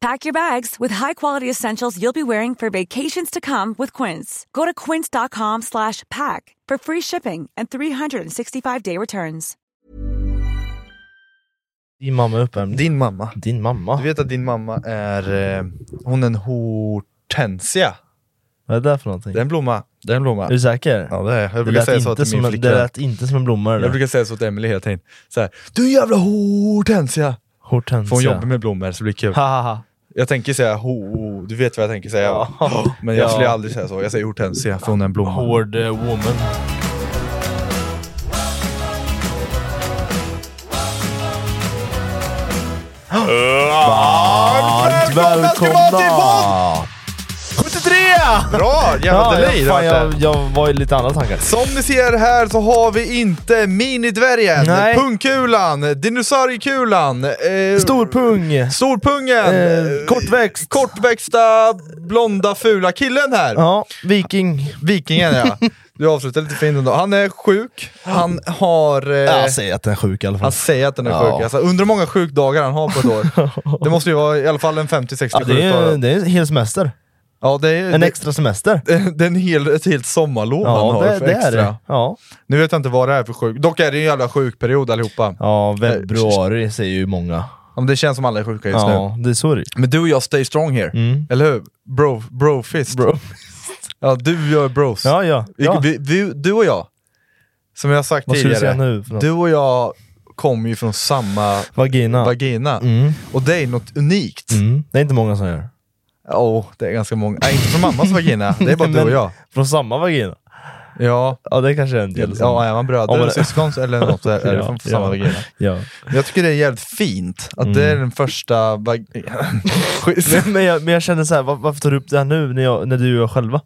Pack your bags with high-quality essentials you'll be wearing for vacations to come with Quince. Go to quince.com slash pack for free shipping and 365-day returns. Din mamma är uppvärmd. Din mamma. Din mamma? Du vet att din mamma är, eh, hon är en hortensia. Vad är det där för någonting? Det är en blomma. Det är en blomma. Är du säker? Ja det är jag. Jag det, brukar lät säga så inte till som min en, det flickvän. lät inte som en blomma det Jag där. brukar säga så till Emelie hela tiden. Så här, du är en jävla hortensia! Hortensia. För hon jobbar med blommor så det blir kul. Ha, ha, ha. Jag tänker säga ho, du vet vad jag tänker säga va? Ja. Men jag skulle Ja. aldrig säga så. Jag säger hortensia för hon är en blomma. Hård eh, woman. Varmt välkomna till välkomna! 73! Bra! Jävla Ja, delay jag, det fan, vart jag, det. jag var i lite andra tankar. Som ni ser här så har vi inte minidvärgen, Nej. pungkulan, dinosauriekulan, eh, Storpung! storpungen, Eh, kortväxt. kortväxta, blonda, fula killen här. Ja, viking. Vikingen ja. Du avslutar lite fint ändå. Han är sjuk, han har... eh, Jag säger att den är sjuk i alla fall. han säger att den är Ja. sjuk. Alltså, undrar hur många sjukdagar han har på ett år. Det måste ju vara i alla fall en 50-60 Ja, det, är, sjukdagar. det är en hel semester. Ja, det är, En det- extra semester. det är en hel, ett helt sommarlov han Ja, har det, för det extra. är det. Ja. Nu vet jag inte vad det är för sjuk. Dock är det ju en jävla sjukperiod allihopa. Ja. ja, februari säger ju många. men det känns som alla är sjuka just nu. Ja, det är så det är. Men du och jag stay strong here. Eller hur? Bro, brofist. Bro. Ja, du och jag är bros. Ja, ja. Vi- ja. Vi, vi, du och jag, som jag har sagt Vad ska du tidigare, säga nu för något? du och jag kommer ju från samma Vagina. vagina. Mm. Och det är något unikt. Mm. Det är inte många som gör. Ja, det är ganska många. Nej, inte från mammas vagina. Det är bara du och Men jag. Från samma vagina? Ja. Ja, det kanske är en del. som- Ja, är man bröder Om man- eller syskon så- eller något så är det Ja, från samma ja. vagina. Ja. Jag tycker det är jävligt fint att det är den första vag... Skit. Mm. Men, men, jag, men jag känner så här, var, varför tar du upp det här nu när, jag, när du och jag själva?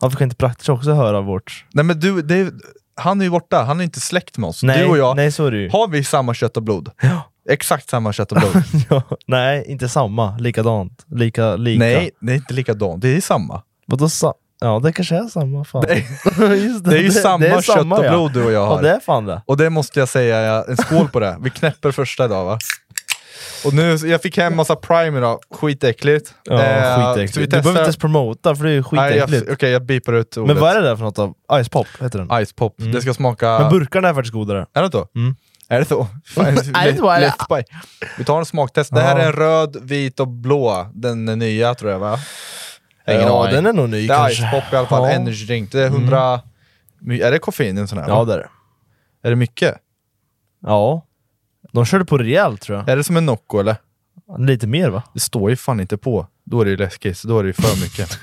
Varför kan inte Praktiskt också höra vårt... Nej men du, det är, han är ju borta, han är inte släkt med oss. Nej, du och jag, nej så är det ju. har vi samma kött och blod? Exakt samma kött och blod. Ja, nej, inte samma. Likadant. Lika, lika. nej, det är inte likadant, det är samma. Vadå sa... Ja, det kanske är samma. Fan. Det är, Just det är ju samma det är kött och ja. blod du och jag har. Ja, det är fan det. Och det måste jag säga, ja, en skål på det. Vi knäpper första idag va? Och nu, jag fick hem massa prime idag, skitäckligt. Ja, Eh, skitäckligt. Så vi Du behöver inte ens testar... promota, för det är ju Nej, jag- skitäckligt. Okej, jag beepar ut ordet. men vad är det där för något då? Ice Pop heter den. Ice pop. Det ska smaka... Men burkarna är faktiskt godare. Är det så? Är det så? Fan, Är Mm. det så, eller? left by. Vi tar en smaktest. Det här Ja. är en röd, vit och blå. Den är nya tror jag va? ja, den är nog ny Det är kanske. Ice Pop i alla fall, Ja. energy drink. Det är 100... My- Är det koffein i en sån här? Ja, va? det är det. Är det mycket? Ja. De körde på rejält tror jag. Är det som en Nocco eller? Lite mer va? Det står ju fan inte på. Då är det ju läskigt, då är det ju för mycket.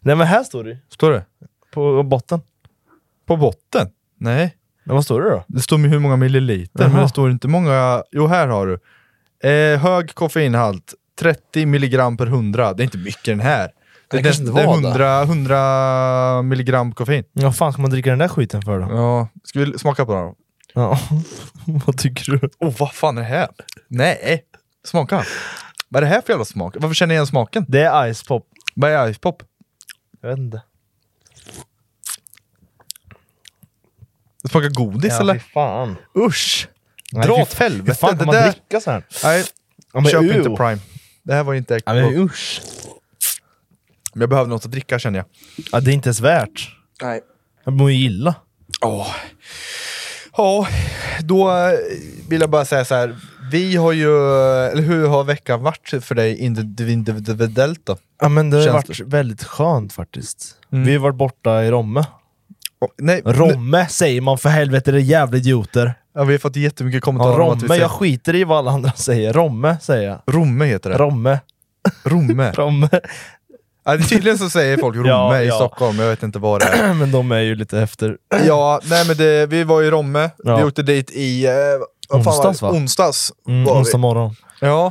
Nej men här står det ju. står det? På botten. På botten? Nej. Men vad står det då? Det står med hur många milliliter, men Jaha. det står inte många... Jo, här har du. Eh, hög koffeinhalt, 30 milligram per 100. Det är inte mycket den här. Det, Det det, kanske det, inte är var 100, 100 milligram koffein. Ja, fan ska man dricka den där skiten för då? Ja, ska vi smaka på den då? Ja. vad tycker du? Åh, oh, vad fan är det här? Nej! Smaka! Vad är det här för jävla smak? Varför känner jag igen smaken? Det är Ice Pop. Vad är Ice Pop? Jag vet inte. Smaka godis Ja, fy eller? fan. Usch! Nej, Dra fy- åt helvete! Hur fan det kan man där... dricka så här? Nej, Ja, men köp ew. inte Prime. Det här var ju inte äkta Ja, gott. men usch. Men jag behöver något att dricka känner jag. Ja, det är inte ens värt. Nej. Jag mår ju illa. Ja, ja då eh, vill jag bara säga så här. Vi har ju, eller hur har veckan varit för dig individuellt då? Ja, men det har Känns varit väldigt skönt faktiskt. Vi har varit borta i Romme. Oh, nej, Romme säger man för helvete, det är jävla idioter. Ja, vi har fått jättemycket kommentarer Ja, om att vi Romme, säger... jag skiter i vad alla andra säger. Romme säger jag. Romme heter det. Romme. Romme. Romme. ja, det är tydligen så säger folk Romme Ja, i ja. Stockholm, jag vet inte vad det är. Men de är ju lite efter. ja, nej men det, vi var i Romme, vi Ja. åkte dit i... Eh, vad fan var det? Onsdags, va? Onsdags. Mm, var vi. onsdag morgon. Ja.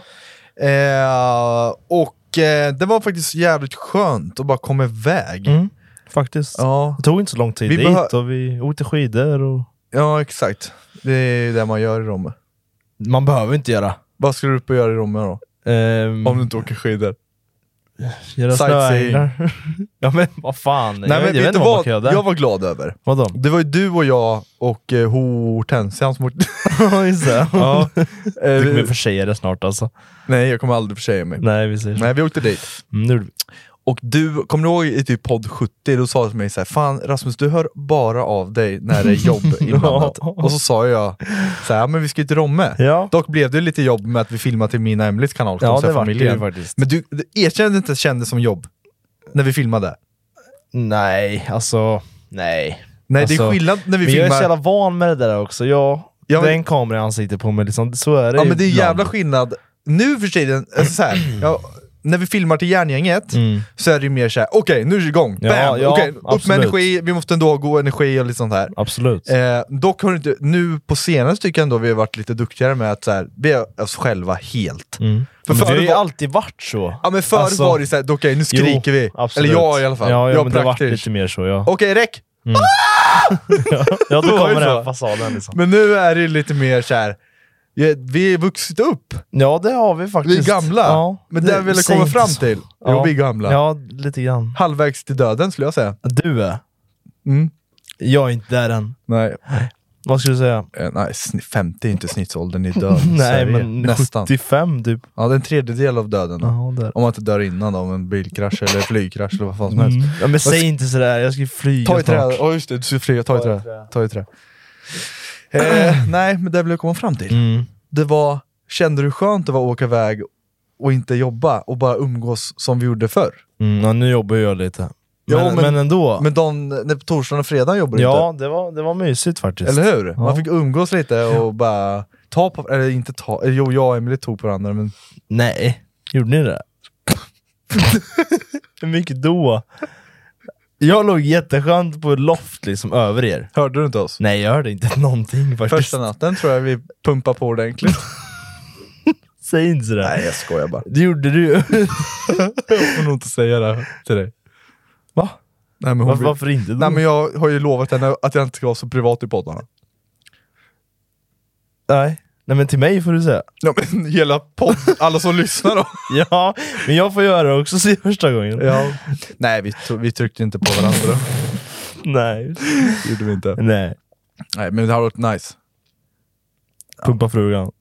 Eh, och eh, det var faktiskt jävligt skönt att bara komma iväg. Mm, faktiskt. Ja, Det tog inte så lång tid Vi dit behö- och vi åkte skidor och... ja, exakt. Det är det man gör i Romme. Man behöver inte göra. Vad ska du upp och göra i Romme då? Ehm, Om du inte åker skidor. göra sightseeing. snöänglar. ja men vad fan. Nej, men vet inte du vad man vad kan göra där. jag var glad över? Vadå? Det var ju du och jag och eh, Hortensian som åkte... Ja just det. Ja. Eh, Du kommer försäga det snart alltså. Nej, jag kommer aldrig försäga mig. Nej vi säger så. Nej, vi åkte dit. Mm, Nu, Och du, kommer du ihåg i typ podd 70, då sa du till mig så här, fan Rasmus du hör bara av dig när det är jobb inblandat. Ja. Och så sa jag så här, "Ja, men vi ska ju till Romme. Ja. Dock blev det lite jobb med att vi filmade till Mina Emelies kanal, Ja, Konstiga det vart det ju familjen. faktiskt. Men du du erkände inte att det kändes som jobb när vi filmade. nej, alltså... Nej. Nej, det är Alltså, skillnad när vi men jag är så filmar. jävla van med det där också. Jag, Ja, det är men- en kamera i ansiktet på mig, liksom. så är det Ja men det är en ibland. jävla skillnad. Nu för tiden, alltså så här, ja, när vi filmar till järngänget så är det ju mer såhär, okej nu är det igång, Mm. Ja, bam! ja, Okej, upp med absolut. energi, vi måste ändå ha god energi och lite sånt här. Absolut. Eh, dock har det inte, nu på senare tycker jag ändå vi har varit lite duktigare med att så här, vi är oss själva helt. För Mm. men det har förut ju var, alltid varit så. ja, men förr Alltså, var det såhär, okej nu jo, skriker vi. absolut. Eller jag i alla fall. Ja, ja jag men det har varit praktiskt. lite mer så. Ja, Okej, räck! ja det då var ju kommer den här så. fasaden. Liksom. Men nu är det lite mer såhär, ja, vi är vuxit upp. Ja, det har vi Vi faktiskt. är gamla. Ja, men det jag ville säg komma inte fram så. till, jo vi är gamla. Ja, lite grann. Halvvägs till döden skulle jag säga. Du är. Mm. Jag är inte där än. Nej, Vad skulle du säga? eh, nej sn- 50 är inte snittsåldern i döden i Nej, Sverige. men Nästan. 75 typ. Ja, det är en tredjedel av döden. då. Ja, där. Om man inte dör innan då, om en bilkrasch eller flygkrasch eller vad fan som helst. Mm. Ja, men säg ska- inte sådär, jag ska ju flyga Ta i snart. trä, ja just det, du ska flyga, ta i trä. Ta i trä. Eh, nej, men det vill jag komma fram till. Mm. Det var, kände du skönt att vara åka iväg och inte jobba och bara umgås som vi gjorde förr? Mm, ja, nu jobbar jag lite. Jo, Men, men- men ändå. Men de, när torsdagen och fredagen jobbar du ja, det var, det var mysigt faktiskt. inte. Eller hur? Man Ja. fick umgås lite och bara ta på, eller inte ta, eller jo jag och Emelie tog på varandra men Nej, gjorde ni det? Hur mycket då? Jag låg jätteskönt på ett loft liksom över er. hörde du inte oss? Nej, jag hörde inte någonting faktiskt. Första natten tror jag vi pumpade på ordentligt. Säg inte sådär. nej jag skojar bara. Det gjorde du ju. Jag får nog inte säga det här till dig. Va? Nej, men hon Varför, blir- varför inte? Nej men jag har ju lovat henne att jag inte ska vara så privat i poddarna. Nej. Nej, men till mig får du säga. Ja, men hela podd, alla som lyssnar då. Ja, men jag får göra det också se första gången. Ja. Nej, vi, tog- vi tryckte inte på varandra. Nej. Det gjorde vi inte. Nej. Nej, men det har varit nice. Pumpa frugan.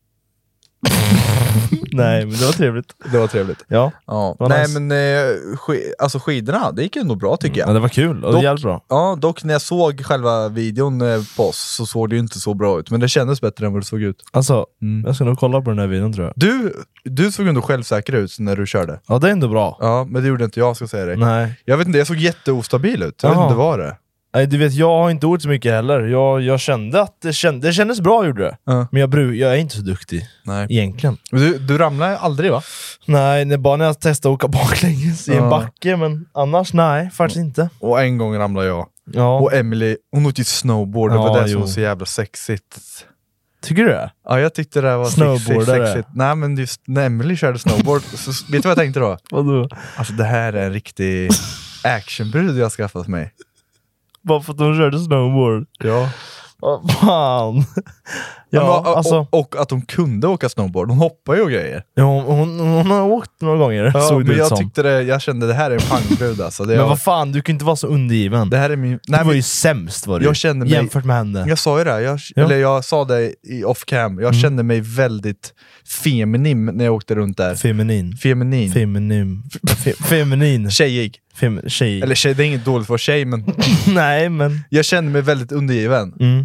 Nej, men det var trevligt. Det var trevligt. Ja. Ja. Vad Nej nice. men eh, sk- alltså skidorna, Mm, det gick ändå bra tycker jag. det var kul och Dock- det hjälpte bra. Ja, dock när jag såg själva videon eh, på oss så såg det ju inte så bra ut, men det kändes bättre än vad det såg ut. Mm. Alltså, jag ska nog kolla på den här videon tror jag. Du, du såg ändå självsäker ut när du körde. Ja, det är ändå bra. Ja, men det gjorde inte jag ska jag säga dig. Nej. Jag vet inte, jag såg jätteostabil ut. Jag Jaha. vet inte vad det är. Nej, du vet, jag har inte gjort så mycket heller. Jag, jag kände att det, känd, det kändes bra, gjorde det. Ja. Men jag, bru, jag är inte så duktig, Nej. egentligen. Du, du ramlade aldrig va? Nej, det är bara när jag testade att åka baklänges i Ja. en backe, men annars nej, faktiskt inte. Och en gång ramlade jag. Ja. Och Emily, hon åkte ju snowboard, det var Ja, det som jo. var så jävla sexigt. Tycker du det? Ja, jag tyckte det var sexigt. Snowboardare. sexigt. Nej, men just när Emily körde snowboard, så, vet du vad jag tänkte då? Vadå? Alltså det här är en riktig actionbrud jag har skaffat mig. Bara för att hon körde snowboard? Ja. Vad fan! Ja, Ja, men, alltså, och, och att de kunde åka snowboard. De hoppar ju och grejer. jo, hon, hon, hon har åkt några gånger, Ja, såg det men ut jag som. tyckte det, jag kände det här är en pangbrud alltså. Det, Men jag, vad fan, du kan inte vara så undergiven. det här är min... Nej, Nej, du var men, ju sämst var du, jag kände mig- jämfört med henne. jag sa ju det, här, jag, Ja. Mm. eller jag sa det i off cam. Jag kände mig väldigt feminin när jag åkte runt där. Feminin. Feminin. Feminin. Fe, feminin. Tjejig. Fem, tjej. Eller tjej, det är inget dåligt för tjej, men Nej men. jag kände mig väldigt undergiven. Mm.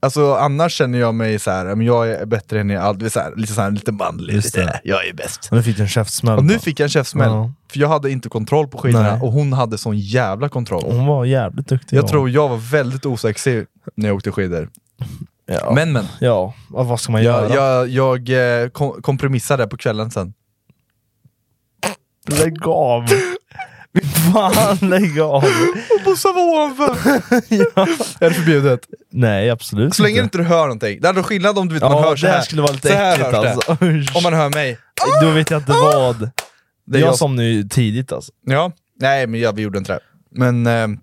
Alltså annars känner jag mig så här, men jag är bättre än er allt. Så här, lite så här, lite manlig. Just Lite, det. jag är bäst. Och nu fick du en käftsmäll. Och nu fick jag en käftsmäll, Ja. för jag hade inte kontroll på skidorna Nej. och hon hade sån jävla kontroll. Hon var jävligt duktig. Jag ja. tror jag var väldigt osexig när jag åkte skidor. Ja. Men men, Ja, vad vad ska man jag, göra? jag, jag eh, kom, kompromissade på kvällen sen. Lägg av! Fan, lägg av! Och Bosse var ovanför! Är det förbjudet? Nej, absolut Så länge inte du hör någonting. Det är ändå skillnad om du vet, Ja, man hör så det här här. skulle vara lite så här äckligt hörs det. alltså. Om man hör mig. Då vet jag inte vad. Det är jag jag- somnade ju tidigt alltså. Ja, nej men ja, vi gjorde inte det. Men... ehm,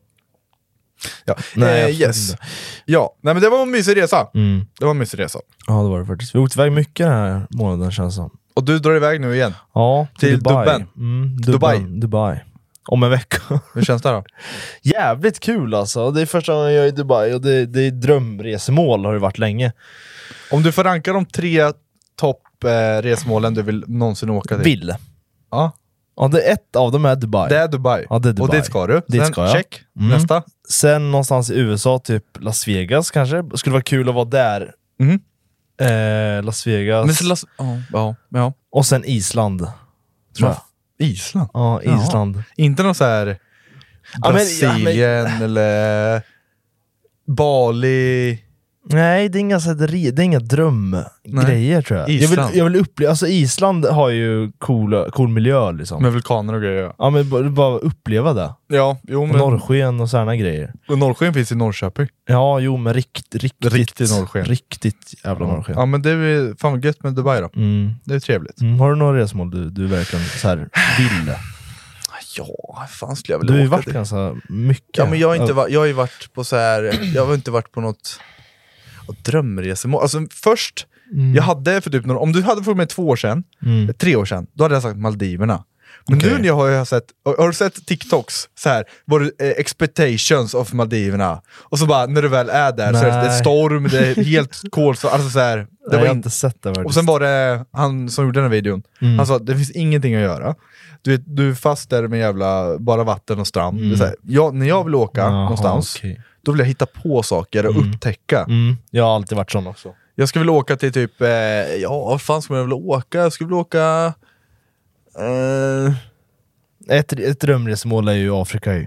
ja. Nej, eh, absolut yes. inte. Ja, nej men det var en mysig resa. Mm. Det var en mysig resa. Ja, det var det faktiskt. Vi åkte iväg mycket den här månaden känns det som. Och du drar iväg nu igen. Ja, till, Till Dubai. Dubben. Mm, Dubai. Dubai. Dubai. Om en vecka. Hur känns det då? Jävligt kul alltså. Det är första gången jag är i Dubai och det, det är drömresmål har det varit länge. Om du får ranka de tre toppresmålen du vill någonsin åka till. Vill. Ja. Ja, det är ett av dem är Dubai. Det är Dubai. Ja, det är Dubai. Och dit ska du. Dit Sen, ska jag. Check. Mm. Nästa. Sen någonstans i USA, typ Las Vegas kanske. Skulle vara kul att vara där. Mm. Eh, Las Vegas. Men så las- ja, ja, ja. Och sen Island. Tror jag. Island? Ja, Jaha. Island. Inte någon så här Ja, men- ja, men- Brasilien eller Bali. Nej, det är inga, så här, dri- det är inga drömgrejer tror jag. Jag Island. vill, jag vill uppleva, alltså Island har ju cool, cool miljö liksom. Med vulkaner och grejer. ja men bara, bara uppleva det. Ja, jo Och men... norrsken och sådana grejer. och Norrsken finns i Norrköping. Ja, jo men rikt, riktigt, Riktig norrsken. Riktigt jävla norrsken. Ja men det är fan vad gött med Dubai då. Mm. Det är trevligt. Mm. Har du några resmål du, du verkligen så här, vill? Ja, fan skulle jag Du har ju varit ganska mycket. Ja, men jag, har inte va- jag har ju varit på så här, jag har inte varit på något och drömresemål. Alltså först, jag hade för typ några, om du hade frågat mig två år sedan, Mm. tre år sedan, då hade jag sagt Maldiverna. Men Okej. nu när jag har, jag har sett, har har du sett TikToks? Så här, var det, eh, expectations of Maldiverna. Och så bara, när du väl är där så är det, det är Nej. storm, det är helt kolsvart. Alltså så här, det Nej, var jag har in- inte sett det faktiskt. Mm. och sen var det han som gjorde den här videon. Han sa det finns ingenting att göra. Du, vet, du är fast där med jävla bara vatten och strand. Det är så här, jag, när jag vill åka Mm. Jaha, någonstans, okej. då vill jag hitta på saker och upptäcka. Mm. Jag har alltid varit sån också. Jag skulle vilja åka till typ, eh, ja vad fan skulle jag vilja åka? Jag skulle vilja åka... Eh, Ett, ett drömresmål är ju Afrika ju.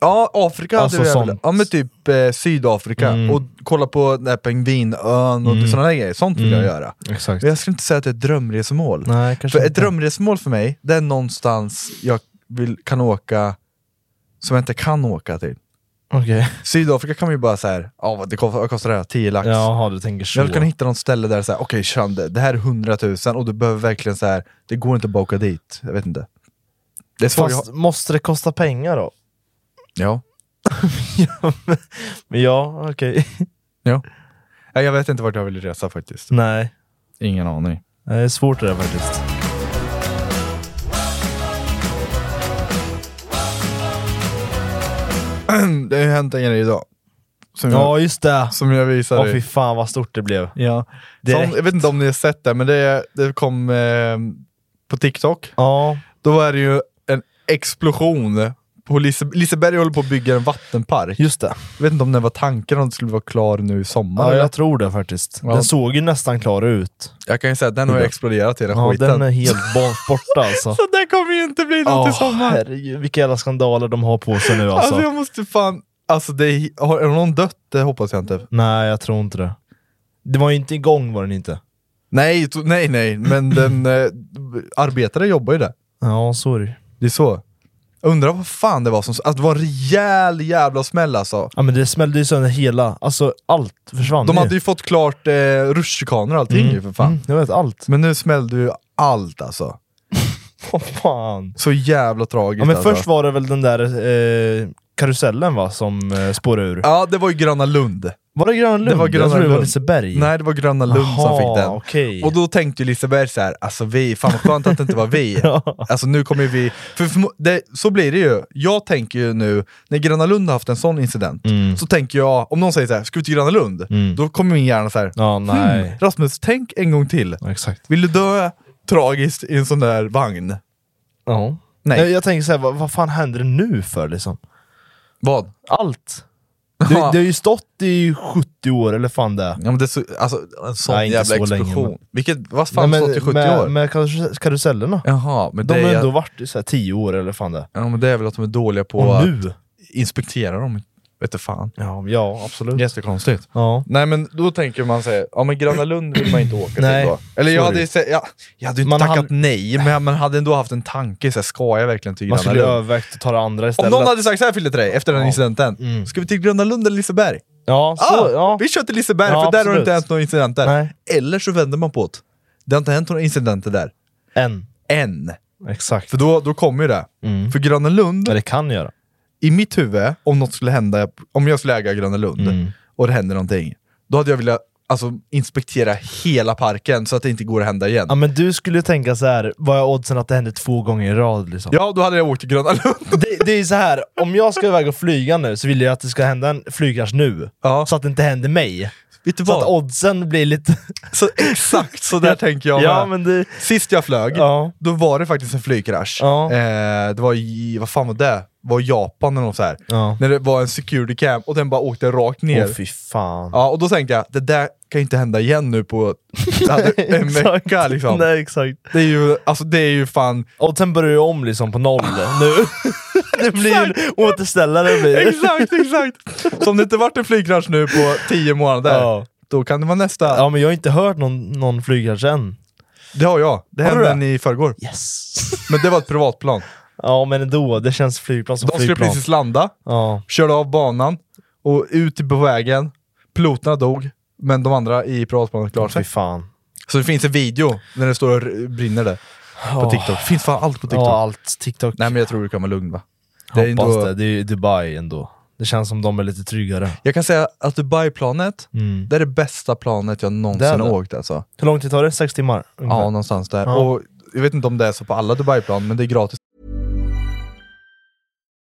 ja, Afrika Alltså hade jag velat. sånt. Mm. Ja men typ eh, Sydafrika. Och kolla på den här pingvinön och sådana där grejer. Sånt vill jag göra. Exakt. Men jag skulle inte säga att det är ett drömresmål. Nej, kanske För ett inte. drömresmål för mig, det är någonstans jag vill, kan åka som jag inte kan åka till. Okej. Sydafrika kan man ju bara såhär, ja vad det kostar, vad kostar det här? 10 lax. Jaha, du tänker så. Jag vill kunna hitta något ställe där såhär, okej okay, det, det här är 100 000 och du behöver verkligen så här. det går inte att bara åka dit. Jag vet inte. Det är svårt. Fast måste det kosta pengar då? Ja. Men ja, okej. ja. Nej, Jag vet inte vart jag vill resa faktiskt. Nej, Ingen aning. det är svårt det där faktiskt. Mm, Det har ju hänt en grej idag. Som jag, Ja, just det. som jag visade. Åh fy fan vad stort det blev. Ja. Direkt. Som, jag vet inte om ni har sett det, men det, det kom eh, på TikTok. Ja, Då är det ju en explosion. På Lise, Liseberg håller på att bygga en vattenpark. just det. Jag vet inte om det var tanken om det skulle vara klar nu i sommar. Ja, eller? jag tror det faktiskt. Ja. Den såg ju nästan klar ut. jag kan ju säga att den har ju exploderat hela Ja, skiten. den är helt bort- borta alltså. Så det kommer ju inte bli något Åh, i sommar. herregud, vilka jävla skandaler de har på sig nu alltså. Alltså jag måste fan... Alltså det är, har, har någon dött? Det hoppas jag inte. Nej, jag tror inte det. Det var ju inte igång var den inte. Nej, to, nej, nej. Men den eh, arbetare jobbar ju där. Ja, sorry. Det är så. Undrar vad fan det var som... Alltså det var en rejäl jävla smäll alltså. Ja men det smällde ju sönder hela, alltså allt försvann De hade ju fått klart eh, rutschkanor och allting ju för fan. Mm, jag vet allt. Men nu smällde ju allt alltså. Åh fan. Så jävla tragiskt Ja men alltså. först var det väl den där eh, karusellen va, som eh, spårade ur? Ja, det var ju Gröna Lund. Var det Grönlund? Det var jag Gröna trodde det var Lund. Liseberg. Nej, det var Gröna Lund som Jaha, fick den. okej. Och då tänkte ju Liseberg så här, alltså vi, fan vad skönt att det inte var vi. Alltså nu kommer ju vi, för förmo- det, så blir det ju. Jag tänker ju nu, när Gröna Lund har haft en sån incident, Mm. så tänker jag, om någon säger så här, ska vi till Gröna Lund? Då kommer min hjärna så här, Ja, nej. "Hmm, Rasmus, tänk en gång till. Ja, exakt. Vill du dö tragiskt i en sån där vagn? Eh, Ja. Nej. Nej. Jag, jag tänker såhär, vad, vad fan händer det nu för liksom? Vad? Allt! Det, det har ju stått i 70 år eller fan det är. Ja, men det är så, alltså, en sån Nej, inte jävla så länge, explosion. men- Vilket, vad fan Nej, har stått i 70 med, år? Med karus- karusellerna. Jaha, men De det, har är, ändå varit i så här 10 år eller fan det ja, men det är väl att de är dåliga på Och att nu? inspektera dem. Vet du fan. Ja, ja absolut. Jättekonstigt. Ja. Nej men då tänker man sig, ja men Gröna Lund vill man inte åka Nej, till då. Eller jag så är hade, det ju ju. sä- ja, jag hade ju inte Man tackat hade- nej, men man hade ändå haft en tanke, så här, ska jag verkligen till Man Gröna skulle ju Lund? övervägt att ta det andra Alltså, Om istället. någon hade sagt så här Fille till dig efter den Ja. incidenten, Mm. ska vi till Gröna Lund eller Liseberg? Ja, så, ah, ja. Vi kör till Liseberg Ja, för där har det absolut. inte hänt några incidenter. Nej. Eller så vänder man på det. Det har inte hänt några incidenter där. En. Än. Exakt. För då, då kommer ju det. Mm. För Gröna Lund, Ja, det kan göra. i mitt huvud, om något skulle hända, om jag skulle äga Gröna Lund Mm. och det händer någonting, då hade jag velat alltså, inspektera hela parken så att det inte går att hända igen. Ja men du skulle ju tänka så här. vad är oddsen att det händer två gånger i rad liksom? Ja, då hade jag åkt till Gröna Lund. Det, det är ju så här. om jag ska iväg och flyga nu så vill jag att det ska hända en flygkrasch nu. Ja. Så att det inte händer mig. Vet du Så att vad? oddsen blir lite... Så, exakt så där tänker jag Ja med. men det... Sist jag flög, Ja. då var det faktiskt en flygkrasch. Ja. Eh, det var i, vad fan var det? Var i Japan eller något så här. Ja. När det var en security cam och den bara åkte rakt ner. Åh fy fan. ja, och då tänkte jag, det där kan ju inte hända igen nu på det hade en Exakt. vecka liksom. Nej exakt. Det är ju, alltså det är ju fan... Och sen börjar ju om liksom på noll Ah. nu. det blir en återställare. Blir. det. Exakt, exakt! Så om det inte varit en flygkrasch nu på tio månader, Ja. då kan det vara nästa. ja men jag har inte hört någon, någon flygkrasch än. Det har jag. Det Har du hände en i förrgår. Yes! Men det var ett privatplan. ja men ändå, det känns flygplan som De skulle flygplan. precis landa, Ja. körde av banan och ut på vägen. Piloterna dog, men de andra i privatplanet klarade Fy sig. fan. Så det finns en video när det står och r- brinner där på Ja. TikTok. finns fan allt på TikTok. Ja, allt. TikTok. Nej men jag tror du kan vara lugn va? Det det är Hoppas ändå, det. Det är ju Dubai ändå. Det känns som de är lite tryggare. Jag kan säga att Dubai-planet, Mm. det är det bästa planet jag Det någonsin är har det. åkt alltså. Hur lång tid tar det? Sex timmar? Ja, ungefär? någonstans där. Ja. Och jag vet inte om det är så på alla Dubai-plan, men det är gratis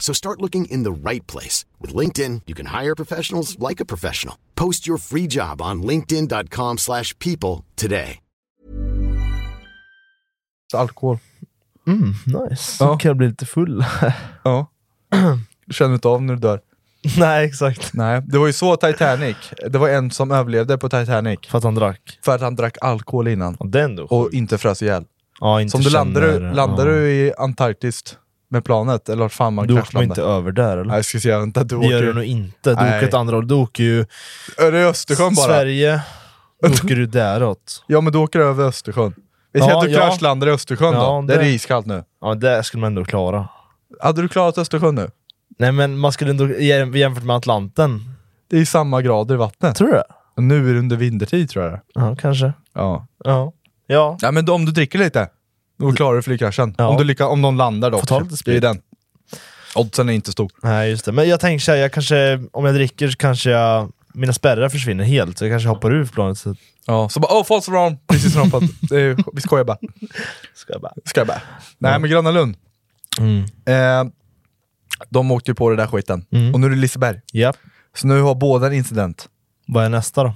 So start looking in the right place. With LinkedIn, you can hire professionals like a professional. Post your free job on linkedin.com/people slash people today. alkohol. Mm, nice. Ja. Då kan jag bli lite full. Ja. Du känner inte av när du dör. Nej, exakt. Nej, det var ju så Titanic. Det var en som överlevde på Titanic För att han drack. för att han drack alkohol innan Ja, det är ändå och inte frös ihjäl. ja, inte Så om du landar, känner- du, landar ja. du i Antarktis med planet, eller vart fan man Du åker nog inte kraschlandar? över där eller? Nej, jag ska se, vänta, du det gör du åker... nog inte. Du Nej. åker åt andra hållet. Du åker ju Är det Östersjön bara? Sverige, då åker du däråt. Ja, men du åker över Östersjön. Vi säger Ja, att du ja. kraschlandar i Östersjön Ja, då. Det är det- iskallt nu. Ja, det skulle man ändå klara. Hade du klarat Östersjön nu? Nej men man skulle ändå, jäm- jämfört med Atlanten. Det är ju samma grader i vattnet. Tror du det? Nu är det under vintertid tror jag det är. Ja, kanske. Ja. Ja. Ja. Ja men då, om du dricker lite, då klarar du flygkraschen. Ja. Om, du lyckas, om någon landar dock. Får ta lite det är sprit. den. Oddsen är inte stor. Nej just det. Men jag tänker såhär, jag kanske, om jag dricker så kanske jag, mina spärrar försvinner helt. Så jag kanske hoppar ur planet. Så Ja. Så bara oh false alarm, precis som de fattat. Det är- Vi skojar bara. ska jag bara... Skojar bara. Nej men Gröna Lund. Eh, de åkte ju på det där skiten. Och nu är det Liseberg. Ja. Så nu har båda en incident. Vad är nästa då?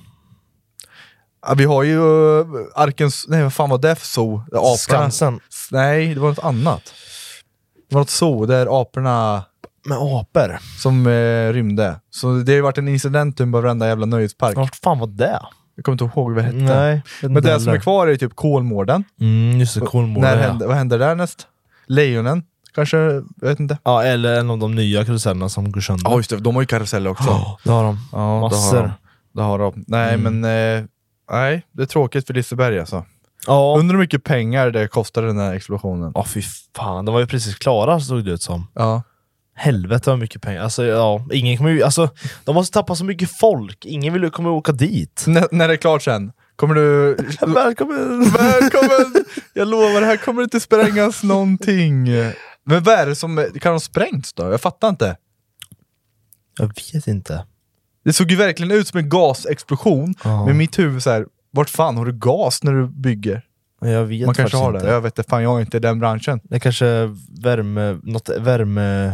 Ja, Vi har ju eh, Arkens... Nej vad fan var det för zoo? Aporna. Skansen. Nej, det var något annat. Det var något zoo där aporna Med apor. som eh, rymde. Så det har ju varit en incident typ på varenda jävla nöjespark. Vart fan var det? Jag kommer inte ihåg vad det hette. Nej, Men det inte som är heller. kvar är ju typ Kolmården. Mm, just det, Kolmården När ja. hände, vad händer därnäst? Lejonen? Kanske? Jag vet inte. Ja, eller en av de nya karusellerna som går sönder. Ja just det, de har ju karuseller också. Ja, det har de. Ja, Massor. Mm. Det har de. Det har de. Nej men, eh, nej det är tråkigt för Liseberg alltså. Ja. Undrar hur mycket pengar det kostade den här explosionen. Ja, fy fan. De var ju precis klara såg det ut som. Ja. Helvete vad mycket pengar. Alltså, ja, ingen kommer ju, alltså, de måste tappa så mycket folk. Ingen vill ju komma och åka dit. N- när det är klart sen, kommer du... Välkommen! Välkommen! Jag lovar, här kommer det inte sprängas någonting. Men vad är det som, kan de sprängts då? Jag fattar inte. Jag vet inte. Det såg ju verkligen ut som en gasexplosion, Ja. men mitt huvud så här, vart fan har du gas när du bygger? Jag vet Man kanske faktiskt har inte. det, jag vet inte, fan jag är inte i den branschen. Det är kanske värme... Något värme...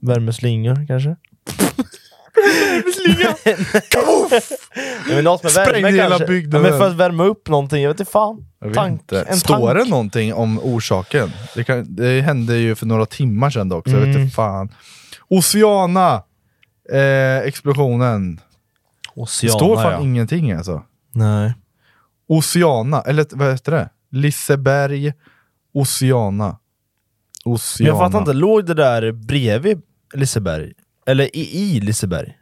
Värmeslingor kanske? Värmeslinga! men något med Sprängde värme hela kanske. bygden. Ja, men för att värma upp någonting, jag vet inte fan. Jag vet tank. inte. En Står tank. det någonting om orsaken? Det, kan, det hände ju för några timmar sedan också, jag vet Mm. inte fan. Oceana! Eh, explosionen. Det Oceana, står fan ja. ingenting alltså. Nej. Oceana, eller vad heter det? Liseberg, Oceana. Men Oceana. jag fattar inte, låg det där bredvid Liseberg? Eller i, i Liseberg?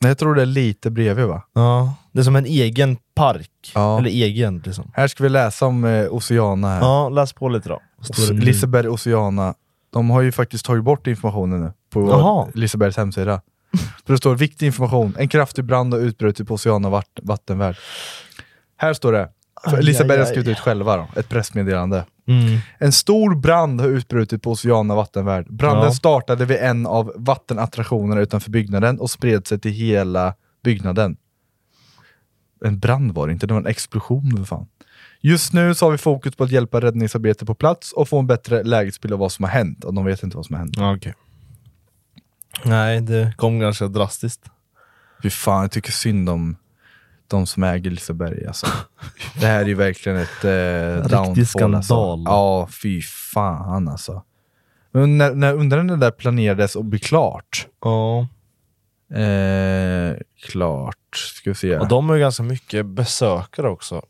Nej, Jag tror det är lite bredvid va? Ja. Det är som en egen park. Ja. Eller egen liksom. Här ska vi läsa om eh, Oceana här. Ja, läs på lite då. Vad står Os- det nu? Liseberg Oceana. De har ju faktiskt tagit bort informationen nu på Jaha. Lisebergs hemsida. För det står viktig information. En kraftig brand har utbrutit på Oceana vatt- vattenvärld. Här står det. För Aj, Liseberg aj, har aj. skrivit ut själva då, ett pressmeddelande. Mm. En stor brand har utbrutit på Oceana vattenvärld. Branden Ja. startade vid en av vattenattraktionerna utanför byggnaden och spred sig till hela byggnaden. En brand var det inte, det var en explosion för fan. Just nu så har vi fokus på att hjälpa räddningsarbetet på plats och få en bättre lägesbild av vad som har hänt. Och de vet inte vad som har hänt. Ja, okej. Nej, det kom ganska drastiskt. Fy fan, jag tycker synd om de som äger Liseberg alltså. Det här är ju verkligen ett eh, downfall. Alltså. skandal. Ja, fy fan alltså. Men när, när, undrar när det där planerades och blev klart? Ja. Eh, klart, ska vi se. Och de har ju ganska mycket besökare också.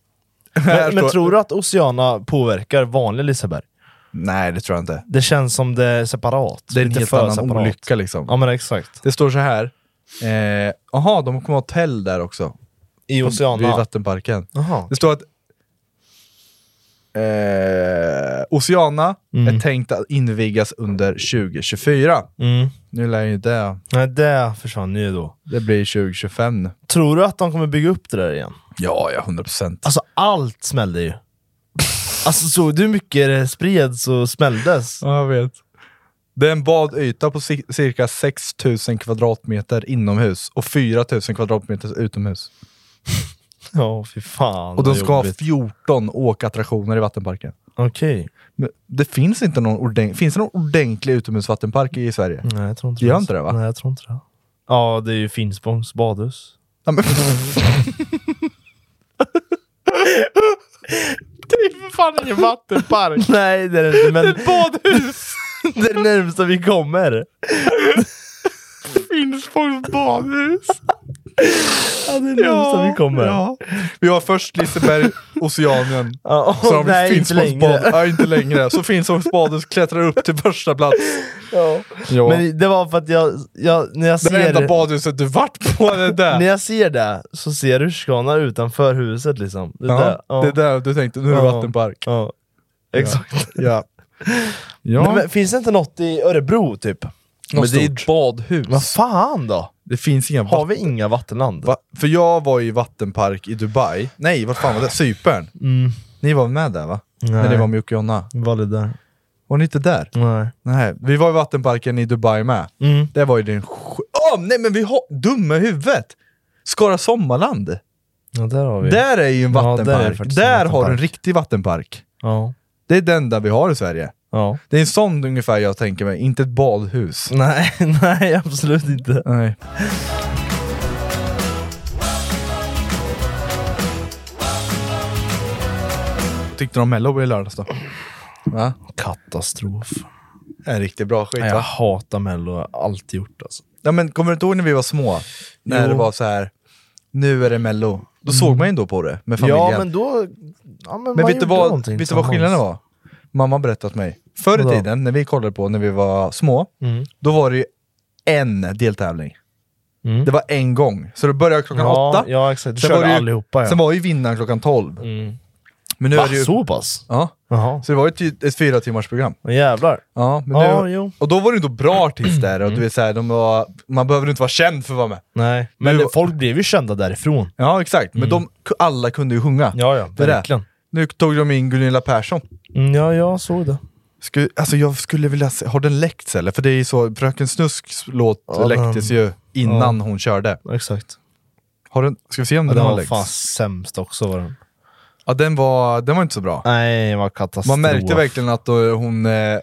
Här Men, men står- tror du att Oceana påverkar vanlig Liseberg? Nej, det tror jag inte. Det känns som det är separat. Det är en Lite helt för annan separat. olycka liksom. Ja men exakt. Det står så här. Jaha, de kommer ha hotell där också. I Vid Oceana. vattenparken. Jaha. Det står att eh, Oceana är tänkt att invigas under 2024. Mm. Nu lär ju det, Nej, det försvann ju då. det blir 2025 nu. Tror du att de kommer bygga upp det där igen? Ja, ja, 100 procent. Alltså allt smällde ju. Alltså såg du hur mycket det spreds och smälldes? Ja, jag vet. Det är en badyta på ci- cirka 6000 kvadratmeter inomhus och 4000 kvadratmeter utomhus. Ja, fy fan Och de vad ska ha jobbigt. 14 åkattraktioner i vattenparken. Okej. Men det finns inte någon ordentlig, finns det någon ordentlig utomhusvattenpark i Sverige? Nej, jag tror inte Det gör inte det, va? Nej, jag tror inte det. Ja, det är ju Finspångs badhus. Ja, men, Det är för fan ingen vattenpark! Nej, det är det inte, men... Det är ett badhus! det är det närmsta vi kommer. Finspångs badhus! Ja, det är det närmsta vi kommer. Ja. Vi har först Liseberg, Oceanien. Ja, så har vi nej, inte Finspångs längre. bad- Ja, inte längre. Så Finspångs badhus klättrar upp till första plats. Ja. Ja. Men det var för att jag, jag när jag det enda ser... badhuset du varit på är där. När jag ser det så ser jag rutschkana utanför huset liksom. Det är Ja, det. Ja. Det är där du tänkte, nu är det Ja. vattenpark. Ja. Exakt. Ja. Nej, men, finns det inte något i Örebro typ? men det är stort. ett badhus. Vad fan då? Det finns inga Har vatten. vi inga vattenland? Va? För jag var i vattenpark i Dubai. Nej, vad fan var det? Cypern. Mm. Ni var med där va? När ni var med Jocke och Jonna. Var det där? Var ni inte där? Nej. Nej, vi var i vattenparken i Dubai med. Mm. Det var ju den sj- Åh, nej men vi har... Dumma i huvudet! Skara Sommarland. Ja, där har vi. Där är ju en Ja, där är vattenpark. där faktiskt en har du en vattenpark. riktig vattenpark. Ja. Det är den där vi har i Sverige. ja. Det är en sån ungefär jag tänker mig, inte ett badhus. Nej, nej absolut inte. Nej. Mm. Tyckte du om Mello i lördags då? Va? Katastrof. En riktigt bra skit Nej, jag va? hatar mello, jag har alltid gjort alltså. Ja, men kommer du inte ihåg när vi var små? När Jo. Mm. det var så här. nu är det mello. Då såg man ju ändå på det med familjen. Ja men då... Ja, men Men man vet du gjorde vad, någonting vet du vad tillsammans. skillnaden var? Mamma berättade åt mig. Förr i Vadå? Mm. tiden, när vi kollade på när vi var små, då var det ju en deltävling. Det var en gång. Så det började klockan Mm. Ja, åtta. ja, exakt. Du Sen körde var det ju, allihopa, ja. Mm. Sen var ju vinnaren klockan tolv. Men nu Va? är det ju... Så pass? Ja. Jaha. Så det var ju ett, ett fyra timmars program. Åh, jävlar. Ja, men Ja, nu, jo. Mm. Och då var det inte bra artister, och du vet, så här, de var, man behöver inte vara känd för att vara med. Nej. Men Nu- det- folk blev ju kända därifrån. Ja, exakt. Men de, alla kunde ju sjunga. Mm. Ja, ja, Det är det. verkligen. Nu tog de in Gunilla Persson. Mm, ja, jag såg det. Sku, alltså jag skulle vilja se, har den läckts eller? För det är ju så, Fröken Snusks låt Ja, läcktes ju innan hon körde. Exakt. Har den, ska vi se om Men den den har var läckts? fan sämst också var den. Ja, den var, den var inte så bra. Nej, vad katastrof. Man märkte verkligen att då, hon, eh,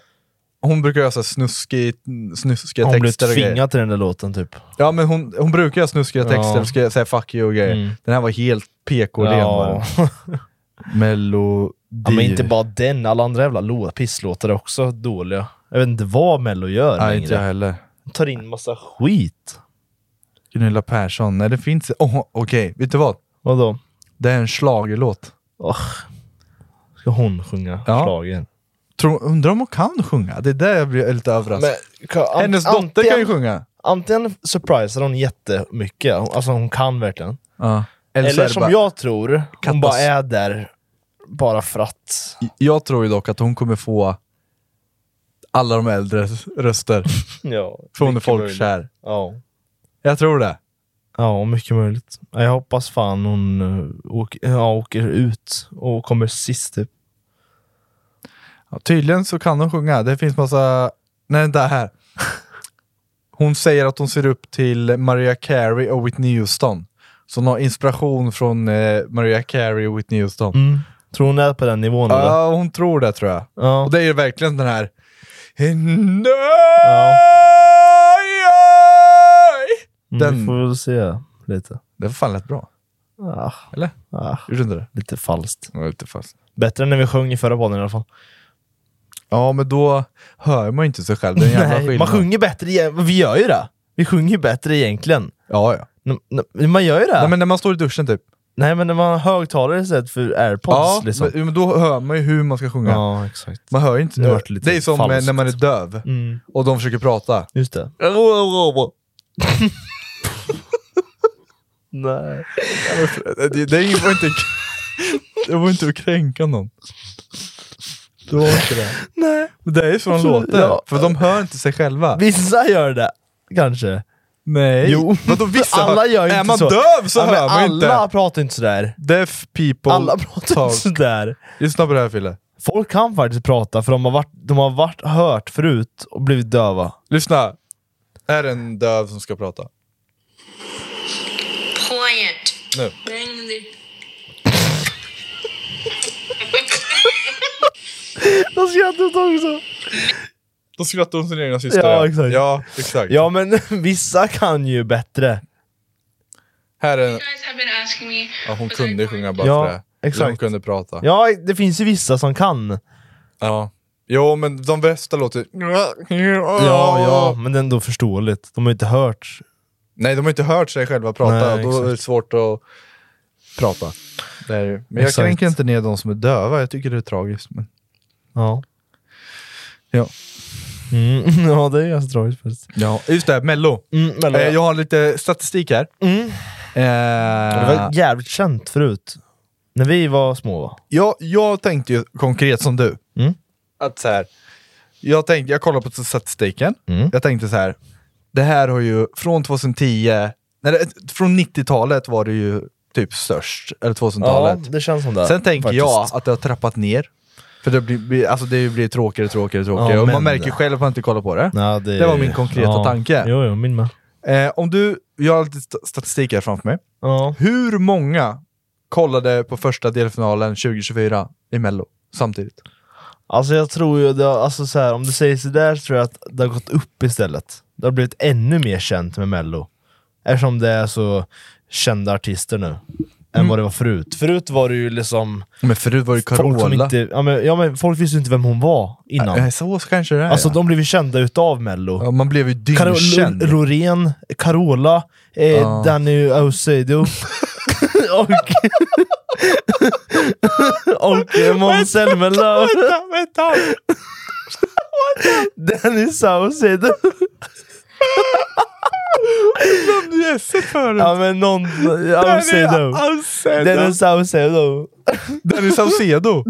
hon brukar göra så här snuskig, snuskiga Hon blev texter och grejer. tvingad till den där låten typ. Ja, men hon, hon brukar göra snuskiga texter, och ska säga fuck you och grejer. Mm. Den här var helt PK-ren var den. Melodi... Ja, men inte bara den, alla andra jävla låt, pisslåtar är också dåliga. Jag vet inte vad Mello gör Nej, inte jag längre. heller. De tar in massa skit. Gunilla Persson, nej det finns... Oh, Okej, vet du vad? Vadå? Det är en schlagerlåt. Oh. Ska hon sjunga Ja. schlagern? Tror, undrar om hon kan sjunga? Det är där jag blir lite överraskad. ka- an- Hennes dotter kan ju antingen- sjunga. Antingen surprisar hon jättemycket, alltså hon kan verkligen. Eller, så är Eller det som bara, jag... jag tror, hon Katas- bara är där bara för att. jag tror ju dock att hon kommer få alla de äldre röster. Ja, För hon är mycket möjligt. folkkär. Ja. Jag tror det. ja, mycket möjligt. Ja, Jag hoppas fan hon eh, åker, ja, åker ut och kommer sist typ. Ja, tydligen så kan hon sjunga. Det finns massa... Nej, det här. Hon säger att hon ser upp till Mariah Carey och Whitney Houston. Så hon har inspiration från eh, Mariah Carey och Whitney Houston. Tror hon är på den nivån eller? Ja, hon tror det tror jag. Ja. Och det är ju verkligen den här... Den... Den, Mm, Vi får väl se lite. den fan lät bra. Ah, Eller? ah, Gjorde inte det? lite falskt. Ja, lite fast. Bättre än när vi sjöng i förra podden i alla fall. Ja, men då hör man ju inte sig själv. Det är en jävla Nej, skillnad. man sjunger bättre, igen- vi gör ju det. Vi sjunger ju bättre egentligen. Ja, ja. N- n- Man gör ju det. Nej, men när man står i duschen typ. Nej men när man har högtalare istället för airpods Ja, liksom. men, men då hör man ju hur man ska sjunga. Ja, exakt. Man hör ju inte. Det vart lite det är som eh, falskt. Mm. när man är döv och de försöker prata. Just det. Nej. Det, det var inte... Det var inte att kränka någon. Det var inte det. Nej. Men det är ju så de Så- låter. ja. För de hör inte sig själva. Vissa gör det, kanske. Nej. Jo. Vadå vissa alla hör? gör ju Är inte man så. döv så Ja, men hör man ju Alla inte. pratar inte sådär. Deaf people Alla pratar talk. inte sådär. Lyssna på det här Fille. Folk kan faktiskt prata för de har varit, de har varit hört förut och blivit döva. Lyssna. Är det en döv som ska prata? Quiet. Nu. Ring the- Jag skrattar åt också. Då skrattar hon sin egna syster. Ja, exakt. Ja, exakt. Ja men vissa kan ju bättre. Här är en... You guys have been asking me. Ja, hon was I kunde going sjunga to- bara Ja, för det. exakt. Eller Hon kunde prata. Ja, det finns ju vissa som kan. Ja. Jo, men de bästa låter... Ja, Ja, ja, men det är ändå förståeligt. De har ju inte hört. Nej, de har inte hört sig själva prata. Nej, då är det exakt. svårt att prata. Det är, ju- men jag Exakt. kränker inte ner de som är döva. Jag tycker det är tragiskt. Men... Ja. Ja. Mm, ja, det är ganska tragiskt faktiskt. ja, just det. Mello. Mm, Mello, ja. eh, Mm. jag har lite statistik här. Det Eh, var jävligt känt förut. När vi var små va? jag, jag tänkte ju konkret som du. Mm. Att så här, jag, tänkte, jag kollade på statistiken. Mm. Jag tänkte så här. Det här har ju från 2010, nej, det- från 90-talet var det ju typ störst. Eller 2000-talet. det känns som det. Sen tänker faktiskt. jag att det har trappat ner. För det blir- blir, alltså det blir tråkigare, tråkigare, tråkigare. Ja, och man men- märker ju själv att man inte kollar på det. Ja, det, var min konkreta ja. tanke. Jo, jo, min med. Eh, om du, jag har lite st- statistik här framför mig. Ja. Hur många kollade på första delfinalen 2024 i Mello samtidigt? Alltså jag tror ju, det, har- alltså så här, om du säger sådär så tror jag att det har gått upp istället. Det har blivit ännu mer känt med mello. Eftersom det är så kända artister nu. än vad det var förut. Förut var det ju liksom... Men förut var det Folk, som Carola. inte, ja, men, ja, men folk visste ju inte vem hon var innan. Nej, så kanske det är. alltså ja. de blev ju kända utav mello. ja, man blev ju Carola, dyngkänd. Loreen, Carola, eh, Danny Saucedo och, och eh, Måns Zelmerlöw. Vänta, vänta! Danny Saucedo. Jösses förut! Ja men någon... Saucedo. Danny Saucedo. Danny Saucedo!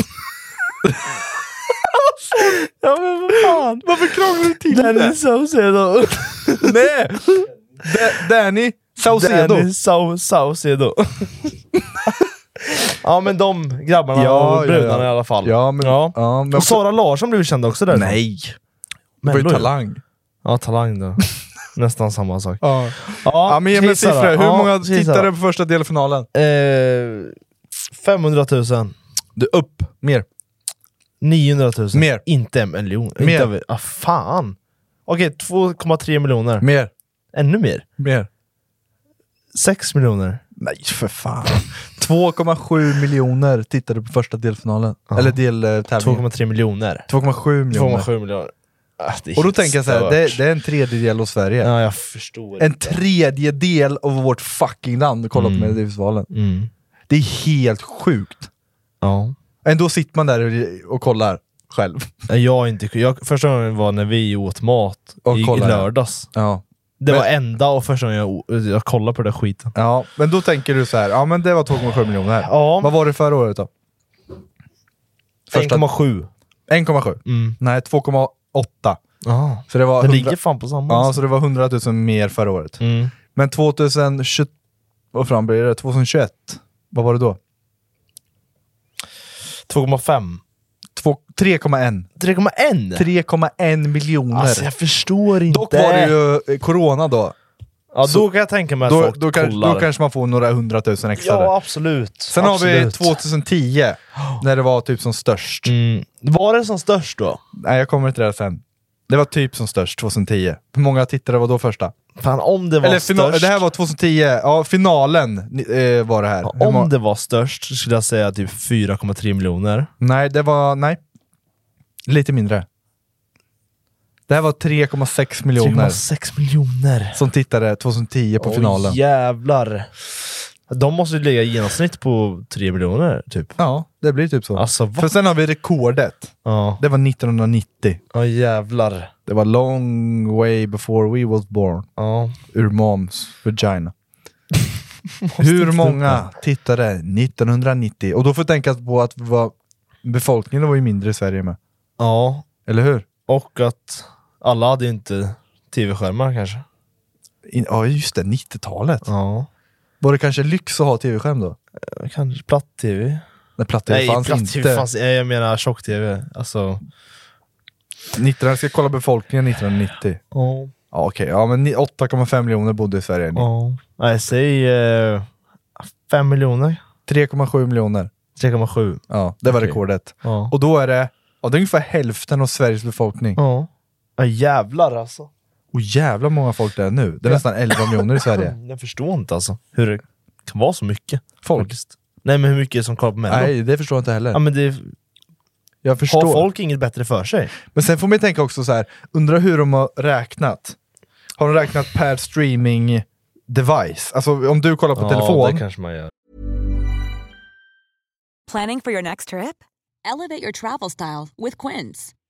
Ja men vad fan. Varför krånglar du till Danny Saucedo. Nej! Da- Danny Saucedo! Danny Sau- Saucedo. ja men de grabbarna Ja, och brudarna ja, ja. i alla fall. Ja, men- ja, men- och Sara Larsson blev ju känd också där. Nej! Det var ju Mello, ja. talang. Ja, talang då. Nästan samma sak. Ja. Ja, men ge mig en Kisara. siffra. Hur Ja, många Kisara. tittade på första delfinalen? Eh, 500 000. Du, upp. Mer. 900 000. Mer. Inte en miljon. Mer. Inte över, ah, fan. Okej, 2,3 miljoner. Mer. Ännu mer. Mer. 6 miljoner. Nej, för fan. 2,7 miljoner tittade på första delfinalen. Eller eh, deltävlingen. 2,3 miljoner. 2,7 miljoner. 2,7 miljoner. Ah, det är Och då helt tänker jag så här, stört. det, det är en tredjedel av Sverige. Ja, jag förstår. En tredjedel av vårt fucking land kollar på Melodifestivalen. Mm. Det är helt sjukt. Ja. Ändå sitter man där och kollar själv. Nej, Jag är inte, jag, första gången var när vi åt mat Och i, i kollade. lördags. Ja. Det var enda och första gången jag, jag kollade på den där skiten. ja, men då tänker du så här, ja men det var 2,7 miljoner. Ja. Vad var det förra året då? Första- 1,7. 1,7? Nej, 2,8. Ah. Så det var Det 100 Mm. ligger fan på samma. Ja, alltså. så det var 100 000 mer förra året. Mm. Men 2020... Vad fan blir det? 2021? Vad var det då? 2,5. Två- 3,1. 3,1? 3,1 miljoner. Alltså jag förstår inte. Dock var det ju eh, corona då. ja, då så- kan jag tänka mig att Då, folk då, kan, kollar. då kanske man får några hundratusen extra. ja, där. absolut. Sen har vi absolut. 2010, när det var typ som störst. Mm. Var det som störst då? Nej, jag kommer till det här sen. Det var typ som störst 2010. Hur många tittare var då första? Fan, om det var Eller fina- störst. det här var 2010, ja finalen eh, var det här. Ja, Hur må- Om det var störst så skulle jag säga typ 4,3 miljoner. Nej, det var... Nej. Lite mindre. Det här var 3,6 miljoner 3,6 miljoner. som tittade 2010 på Åh, finalen. jävlar. De måste ju ligga i genomsnitt på 3 miljoner typ. Ja, det blir typ så. Alltså, va? För sen har vi rekordet. Ja, Det var 1990. ja jävlar. Det var long way before we was born. Ja. Ur moms vagina. Hur många tittade 1990? Och då får jag tänka på att vi var, befolkningen var ju mindre i Sverige med. ja, Eller hur? och att alla hade ju inte tv-skärmar kanske. In, ja just det, 90-talet. Ja. Var det kanske lyx att ha tv-skärm då? Kanske platt-tv? När platt-tv Nej, fanns platt-tv inte. fanns Nej, Jag menar tjock-tv. Alltså... 19, jag ska kolla befolkningen 1990. Ja. Ja okej, ja men ni- 8,5 miljoner bodde i Sverige. Ni- Ja. Nej, säg... 5 miljoner? 3,7 miljoner. 3,7. Ja, det var Okej. rekordet. Ja. Och då är det, ja, det är ungefär hälften av Sveriges befolkning. Ja. ja. Jävlar alltså. Och jävla många folk det är nu. Det är nästan 11 miljoner i Sverige. Jag förstår inte alltså hur det kan vara så mycket. Folk. Faktiskt. Nej, men hur mycket som kollar på Mello? Nej, det förstår jag inte Ja, heller. men det, Jag förstår. har folk inget bättre för sig? Men sen får man ju tänka också så här. undrar hur de har räknat. Har de räknat per streaming device? Alltså om du kollar på Ja, det telefon. kanske man gör. Planning for your next trip? Elevate your travel style with Quince.